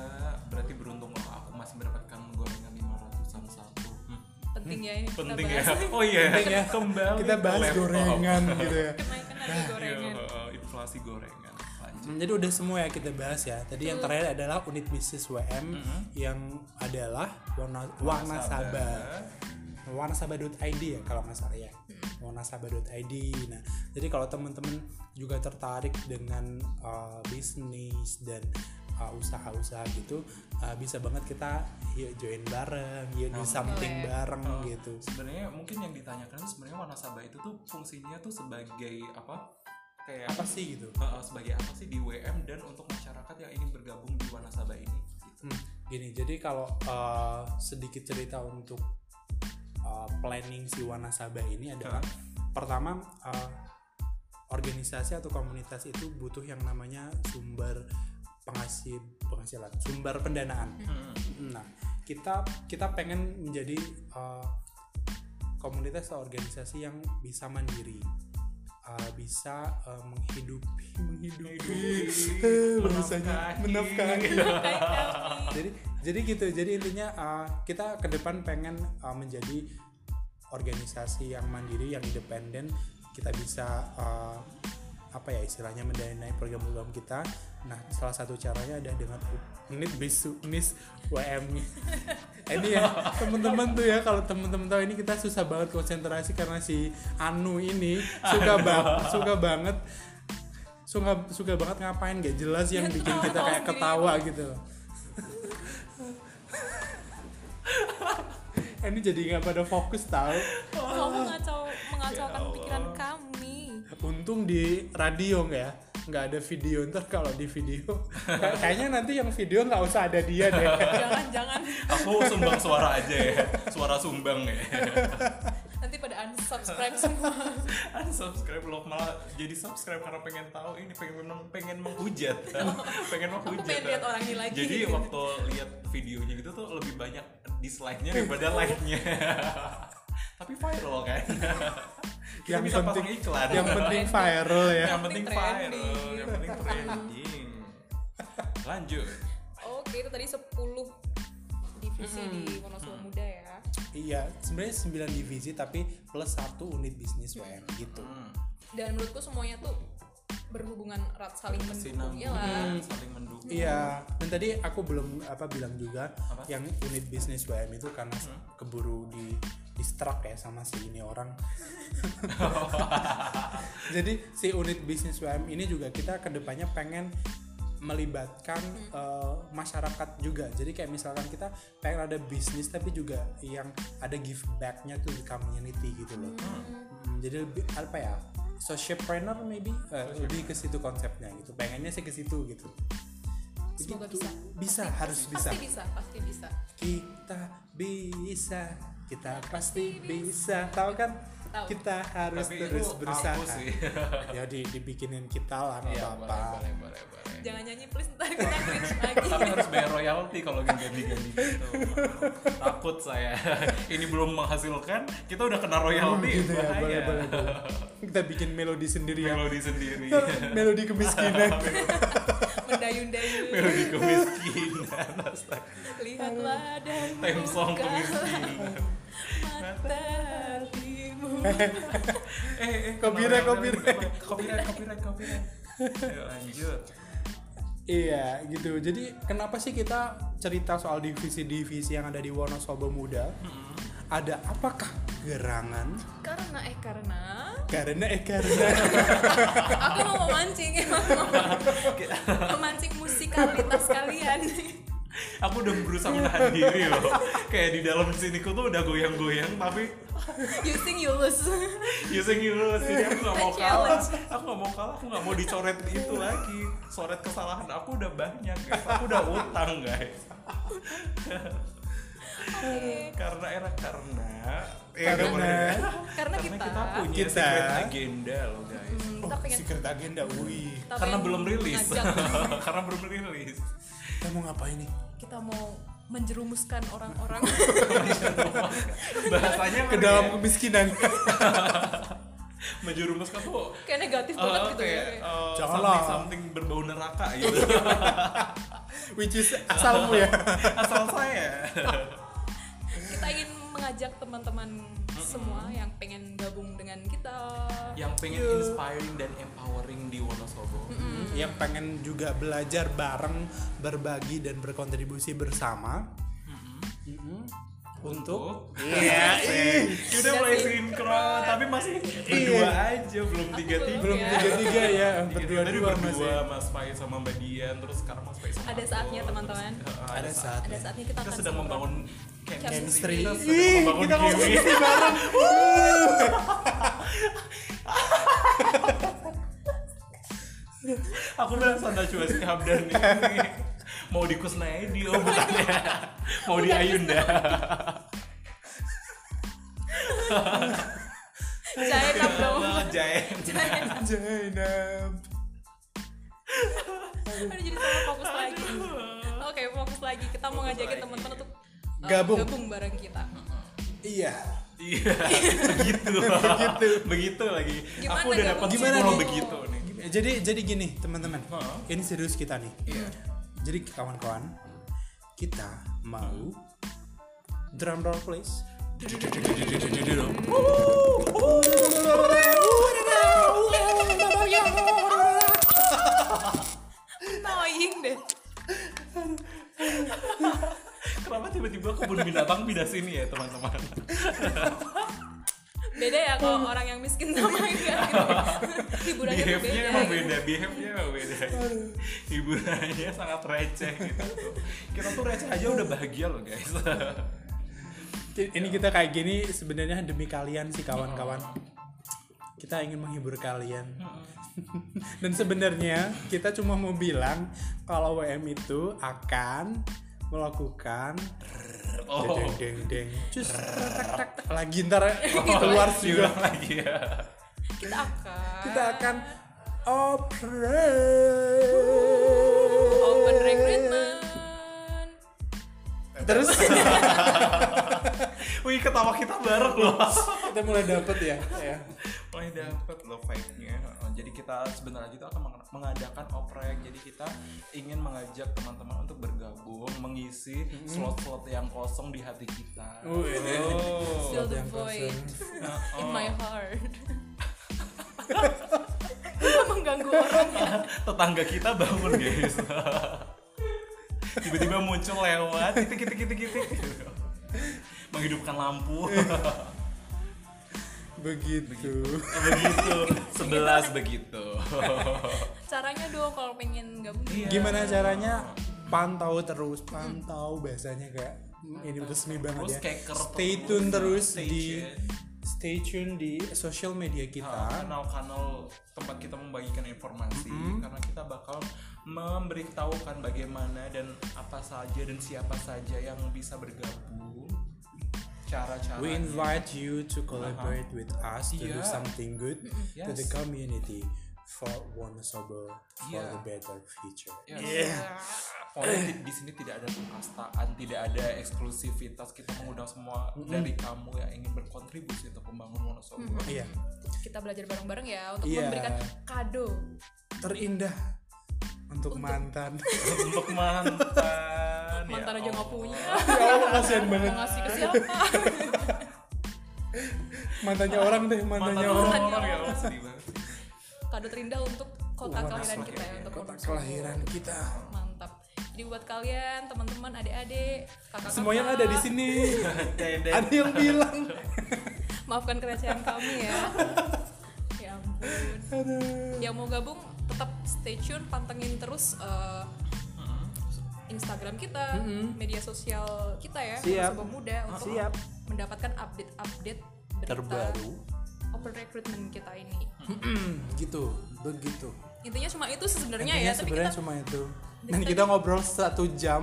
C: berarti beruntung kalau aku masih mendapatkan gorengan 500-an satu. Hmm.
A: penting penting ya ini kita
C: penting ya
A: bahas.
C: oh iya
B: Penting ya.
C: kembali
B: kita
C: ke
B: bahas
C: laptop.
B: gorengan gitu ya
A: Kenaikan harga gorengan.
C: Iya, eh, inflasi gorengan lanjut
B: Hmm, Jadi udah semua ya kita bahas ya. Tadi yang terakhir adalah unit bisnis WM yang adalah Wana- Wanasaba. Wanasaba.id ya kalau nggak salah ya. Wanasaba.id. Nah, jadi kalau teman-teman juga tertarik dengan uh, bisnis dan uh, usaha-usaha gitu, uh, bisa banget kita yuk join bareng, yuk do something
A: boleh.
B: bareng
C: Oh.
B: gitu.
C: sebenarnya mungkin yang ditanyakan tuh sebenarnya wanasaba itu tuh fungsinya tuh sebagai apa kayak
B: Apa sih gitu?
C: Eh, eh, sebagai apa sih di WM dan untuk masyarakat yang ingin bergabung di wanasaba ini gitu.
B: Hmm, gini, jadi kalau eh, sedikit cerita untuk eh, planning si Wanasaba ini adalah pertama eh, organisasi atau komunitas itu butuh yang namanya sumber pengasih penghasilan, sumber pendanaan.
C: Hmm.
B: Nah, kita kita pengen menjadi eh, komunitas atau organisasi yang bisa mandiri. Eh, bisa eh, menghidupi menghidupi bahasanya, menafkahi
A: Kayak kami.
B: jadi jadi gitu jadi intinya uh, kita ke depan pengen uh, menjadi organisasi yang mandiri yang independen kita bisa uh, apa ya istilahnya mendanai program-program kita nah salah satu caranya adalah dengan unit bisnis WM Eh, ini ya teman-teman tuh ya kalau teman-teman tahu ini kita susah banget konsentrasi karena si Anu ini suka banget suka banget suka suka banget ngapain gak jelas yang
A: Dia
B: bikin kita
A: ketawa
B: kayak
A: sendiri.
B: ketawa gitu loh Eh, ini jadi nggak pada fokus tahu
A: Kamu ngacau mengacaukan
C: Ya Allah.
A: pikiran kami.
B: untung di radio nggak ya nggak ada video ntar kalau di video *laughs* kayak- kayaknya nanti yang video nggak usah ada dia
C: *laughs*
B: deh
A: Jangan-jangan
C: Aku sumbang suara aja ya, suara sumbang ya.
A: nanti pada unsubscribe
C: *laughs*
A: semua.
C: Unsubscribe lo malah jadi subscribe karena pengen tahu ini pengen mem- pengen menghujat, kan?
A: *laughs*
C: pengen
A: Aku
C: menghujat. kan?
A: pengen lihat orangnya lagi.
C: Jadi
A: gitu.
C: waktu lihat videonya gitu tuh lebih banyak dislike-nya daripada like-nya. *laughs* Tapi viral kan. Kita
B: Yang
C: bisa pasang
B: penting-
C: iklan.
B: yang penting viral ya
C: *laughs* yang penting viral,
A: trending.
C: yang penting trending. Lanjut.
A: Oke, itu tadi 10 divisi di Wonosobo Muda ya.
B: Iya, sebenarnya 9 divisi tapi plus satu unit bisnis WM gitu.
C: Hmm.
A: Dan menurutku semuanya tuh berhubungan erat saling mendukung
C: Sinambung,
A: ya lah.
C: saling mendukung.
B: Iya, dan tadi aku belum apa bilang juga
C: Apa?
B: yang unit bisnis WM itu karena keburu di distract ya sama si ini orang. Jadi si unit bisnis WM ini juga kita kedepannya pengen melibatkan eh, masyarakat juga. Jadi kayak misalkan kita pengen ada bisnis tapi juga yang ada give back-nya tuh di community gitu loh. Hmm, jadi lebih apa ya? Socialpreneur maybe Eh, lebih ke situ konsepnya gitu. Pengennya sih ke situ gitu.
A: Semoga
B: Begitu.
A: bisa.
B: Bisa, harus bisa.
A: Pasti bisa, pasti bisa.
B: Kita bisa. Kita pasti bisa. Tahu kan?
A: Tahu.
B: Kita harus
C: Tapi
B: terus
C: itu aku
B: berusaha.
C: sih.
B: ya di, dibikinin kita lah nggak
C: *laughs* Iya,
B: apa-apa.
C: boleh, boleh, boleh.
A: Jangan nyanyi please ntar kita cringe lagi.
C: Tapi harus bayar royalti kalau ganti-ganti gitu. Takut saya. *laughs* Ini belum menghasilkan, kita udah kena
B: Hmm,
C: royalti.
B: gitu ya,
C: bahaya.
B: boleh, boleh, boleh. Kita bikin melodi sendiri ya.
C: Melodi sendiri. *laughs*
B: melodi kemiskinan.
C: *laughs*
A: Mendayun-dayun.
C: Melodi kemiskinan. Astaga.
A: Lihatlah dan
C: Time song
A: buka
C: kemiskinan.
A: mata hatimu.
C: Eh, eh,
B: Copyright,
C: kenapa,
B: copyright.
C: kenapa? Copyright, copyright, copyright. Ayo lanjut.
B: Iya gitu. Jadi kenapa sih kita cerita soal divisi-divisi yang ada di Wonosobo Muda?
C: Mm-hmm.
B: Ada apakah gerangan?
A: Karena eh karena
B: Karena eh karena
A: aku mau memancing emang mau memancing musikalitas kalian. *laughs*
C: Aku udah berusaha menahan diri loh. Kayak di dalam siniku tuh udah goyang-goyang, tapi
A: You sing you lose. *laughs*
C: Using you lose, jadi aku gak mau
A: The
C: kalah
A: challenge.
C: Aku gak mau kalah, aku gak mau dicoret itu lagi Coret kesalahan aku udah banyak guys, aku udah utang guys
A: Oke.
C: Karena era karena eh,
B: Karena-
C: gak boleh.
A: Karena
C: Karena
A: kita,
C: kita punya
B: Kita.
C: secret agenda loh guys
A: Hmm,
B: oh,
A: kita pengen
B: secret agenda. Wih,
A: kita
C: Karena
A: pengen
C: belum rilis
A: mengajak-
C: *laughs* Karena belum rilis
B: kita mau ngapain nih?
A: kita mau menjerumuskan orang-orang
C: Bahasanya
B: Ke
C: kan
B: dalam
C: kayak
B: kemiskinan. *laughs*
C: Menjerumuskan tuh
A: kayak negatif
C: eh,
A: banget gitu ya.
C: kayak
A: kayak,
C: eh,
B: Janganlah.
C: something, something berbau neraka gitu *laughs*
B: Which is asalmu ya.
C: Asal saya
A: Kita ingin menga- mengajak teman-teman semua yang pengen gabung dengan kita.
C: yang pengen
B: Iya.
C: inspiring dan empowering di Wonosobo.
B: yang pengen juga belajar bareng, berbagi dan berkontribusi bersama
C: Mm-mm.
B: Mm-mm. untuk
C: Iya, ih, udah mulai
A: Sudah
C: sinkron, tapi masih berdua aja, belum
A: Aku
C: tiga tiga.
A: belum.
B: Iya. belum
A: Iya.
B: tiga tiga ya
C: Berdua
B: berdua
C: tadi
B: dua
C: berdua
B: masih.
C: Mas Faiz sama Mbak Dian, terus sekarang Mas Faiz sama
A: Ada
C: aku,
A: saatnya,
C: terus,
A: teman-teman.
C: eh,
B: Ada saat
A: Ada saatnya kita,
C: Kita
A: akan
C: sedang
A: sinkron.
C: membangun
A: Chemistry.
C: chemistry. Kita
B: Ih,
C: sedang membangun
B: kita ngomong
C: chemistry.
B: ini bareng.
C: Aku bilang Santa Chua Habdan ini mau di Kusnaedi oh bukannya. Mau di
A: Bukan
C: Ayunda.
A: *laughs* Jaya Cup dong.
C: Jae.
A: *laughs* Jaya.
B: Jainab.
A: Aduh, jadi sama fokus lagi. Oke, fokus lagi. Kita mau ngajakin teman-teman untuk uh,
B: Gabung.
A: gabung bareng kita.
B: Iya.
C: Iya, begitu. begitu. begitu lagi.
A: Gimana
C: aku udah
A: gabung?
C: dapat
B: Gimana
C: sepuluh
B: nih?
C: begitu nih.
B: Jadi jadi gini teman-teman,
C: Hah?
B: ini serius kita nih. Jadi kawan-kawan, kita mau drum roll please.
A: Annoying deh.
C: Kenapa tiba-tiba kebun *laughs* binatang pindah sini ya, teman-teman?
A: Beda ya kalau orang yang miskin sama yang kaya gitu. Hiburannya tuh
C: Behave-nya
A: beda.
C: emang
A: gitu.
C: beda, behave-nya emang beda. Hiburannya sangat receh gitu. Kita tuh receh aja udah bahagia loh, *laughs* guys.
B: Ini kita kayak gini sebenarnya demi kalian sih kawan-kawan. Kita ingin menghibur kalian. Dan sebenarnya kita cuma mau bilang kalau WM itu akan melakukan
C: Oh.
B: deng deng deng cus tak tak tak lagi ntar keluar juga
C: iya. diulang lagi ya.
A: Kita akan
B: kita akan operate
A: open recruitment.
B: terus
C: Wih, ketawa kita bareng loh.
B: kita mulai dapet ya, ya.
C: *laughs* mulai dapat loh vibe-nya. Heeh, Jadi kita sebenarnya itu akan meng- mengadakan oprek. Jadi kita ingin mengajak teman-teman untuk bergabung, mengisi slot-slot yang kosong di hati kita.
B: Oh, ini.
C: *laughs*
A: Fill the
B: Yang
A: void
B: kosong.
C: Heeh.
A: in
B: Oh.
A: my
B: *laughs*
A: heart. *laughs* Gua mengganggu orang ya.
C: Tetangga kita bangun, guys. *laughs* Tiba-tiba muncul lewat, titik titik titik titik. Menghidupkan lampu.
B: begitu
C: *laughs* begitu. Sebelas begitu.
A: Caranya dong kalau pengen gabung. ya.
C: Iya.
B: gimana caranya pantau terus pantau bahasanya kayak hmm, ini resmi
C: Terus
B: banget ya
C: keker
B: stay
C: terus,
B: tune terus
C: stay
B: di
C: tune.
B: stay tune di social media
C: Nah,
B: kita
C: kanal-kanal tempat kita membagikan informasi karena kita bakal memberitahukan bagaimana dan apa saja dan siapa saja yang bisa bergabung cara-cara
B: We invite you to collaborate with us to do
C: Yeah.
B: something good to the
C: Iya. Yes.
B: community for Wonosobo for
C: Yeah.
B: the better future.
C: Yes. Pokoknya di- di sini tidak ada kekastaan, tidak ada eksklusivitas. Kita mengundang semua dari kamu yang ingin berkontribusi untuk membangun Wonosobo.
B: Iya,
A: Kita belajar bareng-bareng ya untuk
B: Iya.
A: memberikan kado.
B: terindah untuk mantan. *laughs*
C: *laughs* Untuk mantan,
B: Iya,
C: ya
A: Mantan aja nggak
B: *laughs*
C: Allah.
A: punya.
B: ya Allah kasihan
A: Mau
B: banget.
A: ngasih ke
B: *laughs*
A: siapa?
B: Mantannya orang deh,
C: Mantan
B: mantannya orang.
C: orang,
A: orang.
C: ya Allah sedih banget.
A: kado terindah untuk kota
B: Wonosobo,
A: kelahiran kita ya, untuk
B: Kota
A: Wonosobo.
B: kelahiran kita.
A: Mantap. Jadi buat kalian teman-teman, adik-adik, kakak-kakak,
B: Semua yang ada di sini.
C: Dede.
B: ada *laughs* yang bilang.
A: Maafkan kerecehan
B: *laughs*
A: kami ya. ya ampun. Yang mau gabung tetap stay tune, pantengin terus eh, Instagram kita, media sosial kita ya,
B: Mm-hmm. Siap.
A: Wonosobo Muda untuk
B: Siap.
A: mendapatkan update-update berita
B: Terbaru.
A: open recruitment kita ini.
B: *clears throat*
C: Mm-hmm.
B: gitu, begitu.
A: Intinya cuma itu sebenarnya
B: Intinya
A: ya, tapi
B: sebenarnya
A: kita
B: cuma itu. Dan kita ngobrol satu jam.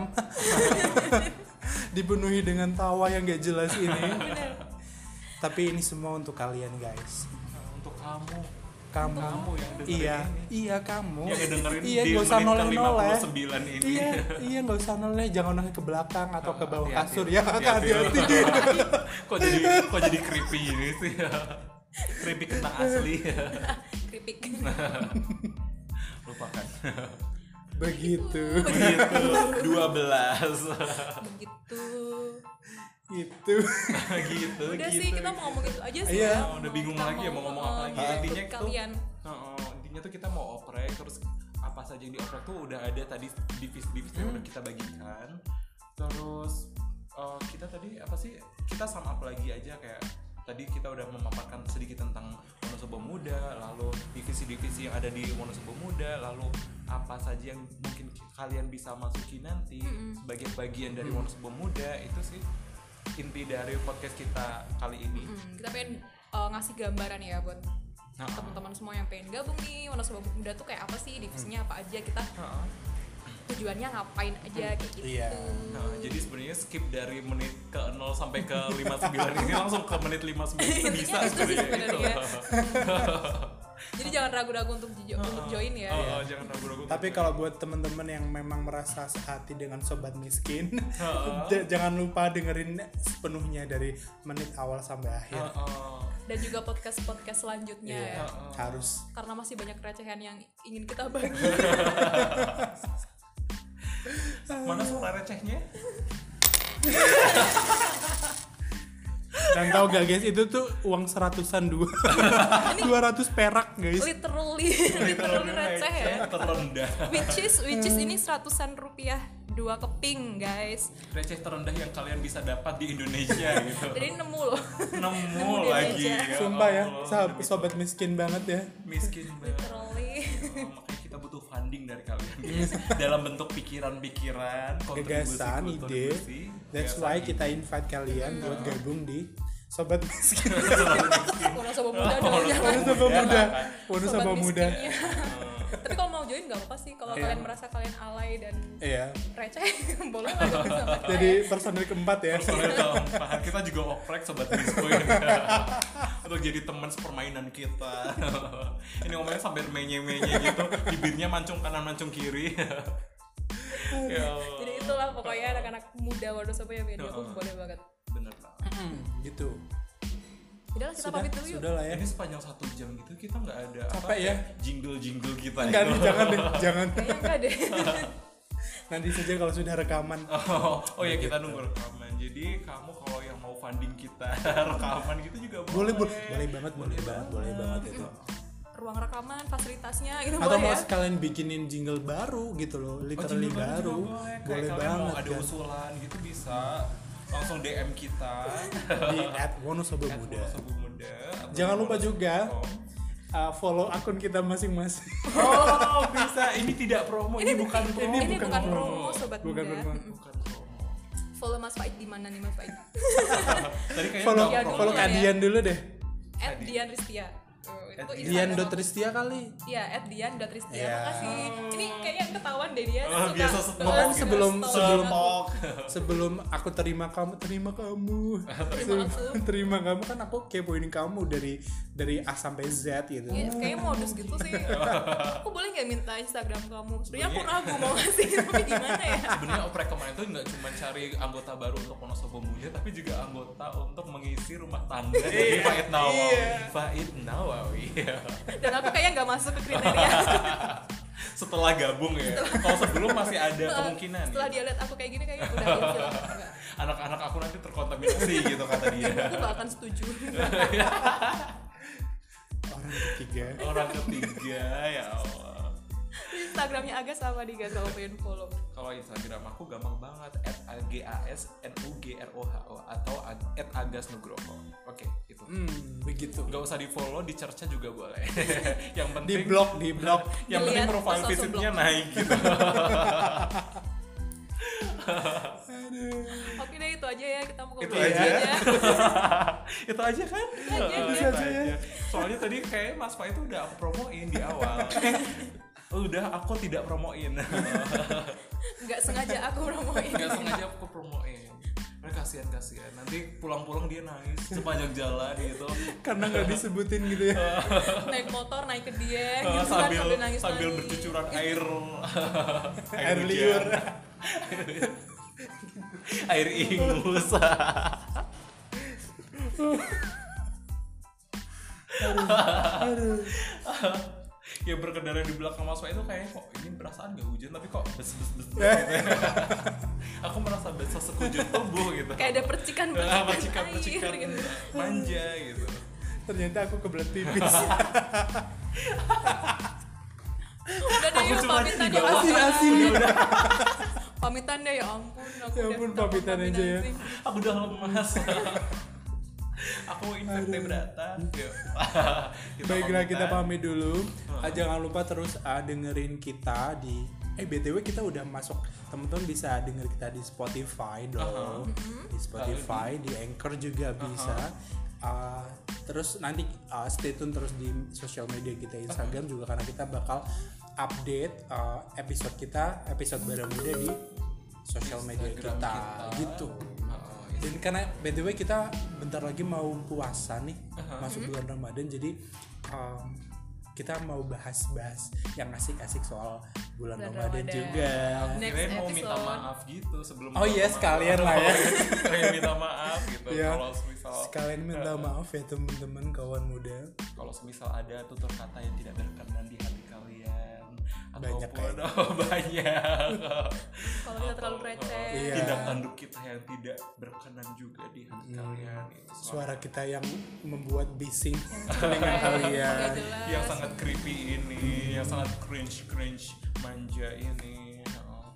B: *laughs* Dipenuhi dengan tawa yang gak jelas
C: *laughs*
B: ini.
A: Bener.
B: Tapi ini semua untuk kalian guys.
C: Untuk kamu.
B: Kamu,
C: Kamu yang dengerin
B: iya,
C: ini.
B: iya kamu.
C: yang dengerin
B: iya,
C: di
B: gak usah
C: menit
B: noleh noleh.
C: ke 59 ini. *laughs*
B: Iya, iya nggak usah noleh, jangan noleh ke belakang atau ke bawah
C: Hati-hati.
B: kasur ya.
C: Hati-hati.
B: Hati-hati. *laughs*
C: kok jadi kok jadi creepy ini sih? *laughs* creepy kentang asli. *laughs*
A: keripik.
C: Lupakan.
B: Begitu.
C: Begitu 12.
A: Begitu.
B: itu
C: gitu
A: udah
C: gitu
A: sih kita mau ngomong itu aja sih
B: Iya.
A: ya.
C: Oh, udah bingung
A: Kita
C: lagi ya mau ngomong apa lagi.
A: eh,
C: Intinya
A: ikut
C: itu-
A: kalian
C: Heeh, intinya tuh kita mau oprek terus apa saja yang dioprek tuh udah ada tadi divisi-divisi yang udah kita bagikan terus eh, kita tadi apa sih kita sama up lagi aja kayak tadi kita udah memaparkan sedikit tentang Wonosobo Muda lalu divisi-divisi yang ada di Wonosobo Muda lalu apa saja yang mungkin ki- kalian bisa masuki nanti
A: Mm-mm.
C: sebagai bagian dari Wonosobo Muda itu sih inti dari podcast kita kali ini
A: Hmm, kita pengen eh, ngasih gambaran ya buat
C: Nah,
A: teman-teman semua yang pengen gabung nih Wonosobo Muda tuh kayak apa sih divisinya apa aja kita
C: heeh.
A: tujuannya ngapain aja kayak gitu
B: Iya.
C: Nah, jadi sebenarnya skip dari menit ke 0 sampai ke 59 ini langsung ke menit 59 itu bisa
A: Intinya Iya, itu sih
C: sebenarnya. gitu. Itu.
A: sebenarnya. iya. jadi jangan ragu-ragu untuk jo- untuk join ya
C: Oh, oh, jangan ragu-ragu.
B: tapi kalau buat temen-temen yang memang merasa sehati dengan sobat miskin
C: Heeh.
B: j- jangan lupa dengerin sepenuhnya dari menit awal sampai akhir
C: Heeh.
A: dan juga podcast podcast selanjutnya ya
B: Iya.
C: Heeh.
B: harus
A: karena masih banyak recehan yang ingin kita bagi
C: Mana suara recehnya?
B: dan tahu gak guys itu tuh uang seratusan dua dua ratus perak
A: Iya,
B: guys
A: literally literally receh ya
C: Terendah.
A: which is which is ini seratusan rupiah dua keping guys
C: Receh terendah yang kalian bisa dapat di Indonesia gitu.
A: jadi nemu loh
C: Nemu
A: Nemu di
C: lagi.
A: meja.
B: sumpah ya
C: Allah,
B: sah-
C: demi-
B: sobat miskin banget ya
C: miskin banget.
A: literally
C: Oh, makanya kita butuh funding dari kalian guys.
A: Iya.
C: dalam bentuk pikiran-pikiran kontribusi
B: gagasan ide
C: kontribusi,
B: that's
C: gagasan
B: why kita invite kalian buat gabung di sobat miskin
A: Wonosobo muda dong jangan
B: Wono sama muda Wono
A: sobat
B: sama muda
A: miskinnya. *laughs* tapi kalau mau join nggak apa-apa sih kalau
B: Iya.
A: kalian merasa kalian alay dan
B: iya
A: receh *laughs* boleh nggak gabung sama kita
B: jadi personil keempat ya
C: Personil keempat kita juga oprek sobat disco ya. untuk jadi teman sepermainan kita ini ngomongnya sambil menye-menye gitu bibirnya mancung kanan mancung kiri ya Allah.
A: jadi itulah pokoknya anak-anak muda ya, Wonosobo yang pengen gabung
C: Heeh.
A: boleh banget
C: bener lah
B: gitu
A: udahlah kita
B: sudah
A: pamit dulu yuk
B: sudah lah ya
C: ini sepanjang satu jam gitu kita nggak ada
B: Capek ya?
C: jingle jingle kita
B: enggak
C: gitu.
B: nih jangan deh jangan
A: kayaknya enggak deh *laughs*
B: nanti saja kalau sudah rekaman
C: Oh, oh ya kita nunggu rekaman. Jadi kamu kalau yang mau funding kita *laughs* rekaman gitu juga
B: boleh boleh boleh banget boleh banget boleh banget itu
A: ruang rekaman fasilitasnya gitu
B: atau
A: boleh
B: mau
A: ya
B: sekalian bikinin jingle baru gitu loh literally
C: Oh, jingle juga
B: baru
C: boleh. Kayak
B: boleh
C: kalian mau
B: banget kan.
C: ada
B: guys.
C: usulan gitu bisa langsung DM kita
B: di at Wonosobo
C: At
B: Muda
C: Wonosobo Muda atau
B: jangan lupa
C: Wonosobo
B: juga
C: com.
B: uh, follow akun kita masing-masing
C: Oh bisa ini tidak
B: oh,
C: promo ini, bukan promo
A: ini bukan, promo sobat
B: Bukan
A: muda
B: promo.
A: Mm-mm.
C: bukan promo.
A: follow Mas Faid di mana nih Mas Faid
C: Tadi kayaknya
B: follow
C: udah
A: Iya
C: promo.
A: dulu
B: follow
A: lah
B: Kak
A: ya.
B: Dian dulu deh
A: at Dian Ristia Oh, itu
C: At
A: Instagram
B: Dian
A: aku.
B: Dotristia kali
A: Iya, at Dian dot Ristia.
B: Iya.
A: Makasih. Ini kayaknya ketahuan deh dia.
C: Oh, biasa stok
B: Bahkan
C: gitu.
B: sebelum
A: stok.
B: sebelum
C: Stok.
B: sebelum aku terima kamu terima kamu *laughs*
A: Terima aku.
B: terima kamu kan aku kepoin kamu dari dari A sampai Z gitu
A: Iya, kayaknya modus gitu sih. aku boleh nggak minta Instagram kamu? Sebenarnya aku ragu mau ngasih *laughs* tapi gimana ya?
C: sebenarnya oprek kemarin itu nggak cuma cari anggota baru untuk Wonosobo Muda tapi juga anggota untuk mengisi rumah tangga dari Faiz Nawawi Faiz Nawawi iya.
A: Dan aku kayaknya nggak masuk ke kriteria.
C: setelah gabung ya kalau sebelum masih ada kemungkinan
A: Setelah
C: ya.
A: dia lihat aku kayak gini kayaknya udah ilfil. Nggak.
C: anak-anak aku nanti terkontaminasi gitu kata dia
A: Aku nggak akan setuju. *laughs*
B: orang ketiga
C: orang ketiga ya Allah
A: Instagramnya Aga sama di Gaza pengen follow.
C: kalau Instagram aku gampang banget at atau at agas nugroho oke itu
B: hmm, begitu
C: nggak usah di follow di church juga boleh *laughs* yang
B: di
C: penting
B: blok di blok
C: yang penting
A: Dilihat,
C: profile
A: terus langsung
C: visitnya
A: blok.
C: naik gitu *laughs*
A: Oke deh itu aja ya kita mau
C: Itu
A: ngobrol
C: aja. itu aja kan
A: aja,
C: Heeh,
B: itu aja ya.
C: soalnya tadi kayak Mas Pak itu udah aku promoin di
B: *laughs*
C: awal Eh, udah aku tidak promoin
A: Nggak sengaja aku promoin.
C: nggak sengaja aku promoin Karena Eh, kasihan kasihan nanti pulang-pulang dia nangis sepanjang jalan gitu
B: karena nggak disebutin gitu ya
A: naik motor naik ke dia
C: Eh,
A: gitu kan
C: sambil
A: sambil nangis
C: sambil
A: nangis.
C: bercucuran air
B: Air
C: hujan.
B: liur.
C: air ingus yang Ya, berkendara di belakang Mas Wai itu kayaknya kok ini perasaan gak hujan tapi kok bes bes bes gitu.
B: *laughs*
C: aku merasa basah sekujur tubuh gitu
A: kayak ada percikan
C: Ah, percikan percikan
A: air gitu.
C: manja gitu
B: ternyata aku kebelet pipis
A: udah deh
C: Aku
A: yuk
C: cuma
A: pamitan *laughs*
C: tiga
A: ya
B: asin asin
A: ampun.
B: ya udah
A: pamitan deh ya ampun aku
B: Ya
A: udah
B: ampun,
A: takut
B: pamitan aja ya.
A: sih.
C: aku udah
A: *laughs*
C: lemas aku invertebrata
A: *laughs*
C: Yuk. Kita
B: baiklah kita
C: pamitan.
B: pamit dulu Ah, jangan lupa terus ah, dengerin kita di eh btw kita udah masuk teman-teman bisa denger kita di Spotify dong
C: Uh-huh.
B: di Spotify di Anchor juga bisa Ah, terus nanti ah, stay tune terus di sosial media kita Instagram juga karena kita bakal update ah, episode kita episode barang muda di sosial media
C: Instagram
B: kita,
C: kita.
B: gitu
C: Oh, iya.
B: dan karena btw kita bentar lagi mau puasa nih masuk bulan ramadan jadi um, kita mau bahas-bahas yang asik-asik soal bulan,
A: Bulan
B: ramadan,
A: Ramadan.
B: juga
A: Next
C: Kirain mau minta
A: episode.
C: maaf gitu sebelum
B: Oh iya, sekalian lah ya.
C: Kayak Oh, iya, minta maaf gitu.
B: Ya.
C: Kalau misal
B: sekalian minta maaf ya teman-teman kawan muda
C: kalau semisal ada tutur kata yang tidak berkenan di hati kalian
B: Banyak
C: ataupun oh, *laughs* banyak
A: kalau kita terlalu
C: Atau,
A: receh
C: oh,
B: Iya.
C: tindak tanduk kita yang tidak berkenan juga di hati kalian gitu. itu suara
B: suara kita yang membuat bising
A: Iya.
B: *laughs*
A: dengan
C: Iya.
B: kalian.
A: Iya.
C: yang sangat creepy ini yang sangat cringe cringe manja ini Oh.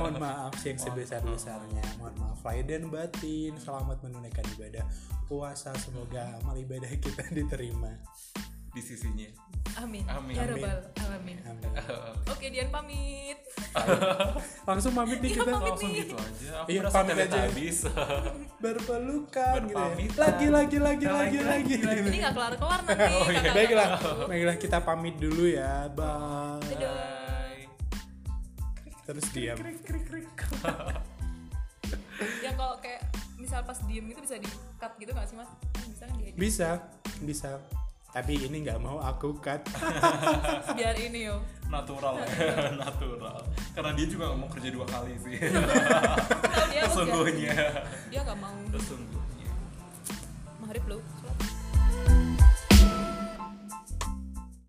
B: mohon maaf sih yang sebesar-besarnya mohon maaf lahir dan batin selamat menunaikan ibadah puasa semoga amal ibadah kita *laughs* diterima
C: di sisinya
B: *laughs*
A: amin
C: Amin.
A: ya
C: Amin.
A: robbal alamin
B: amin
A: oke Dian pamit
B: langsung pamit nih kita Oh.
C: langsung gitu aja aku
B: Iya,
C: merasa
B: pamit aja.
C: ternyata habis
B: berpelukan gitu ya.
C: Berpamitan.
B: lagi lagi lagi lagi lagi,
A: ini nggak kelar kelar
C: *laughs*
A: nanti
C: Oh, iya.
A: kakak-kakak.
B: baiklah baiklah kita pamit dulu ya bye
C: Bye.
B: terus diam
A: ya kalau kayak misal pas diem itu bisa di cut gitu nggak sih mas Kan bisa kan diedit
B: bisa bisa tapi ini nggak mau aku cut
A: biar ini yo
C: natural *laughs* ya natural karena dia juga nggak mau kerja dua kali sih
A: Tahu dia mau
C: sesungguhnya
A: dia nggak mau
C: sesungguhnya
A: maghrib lu sholat.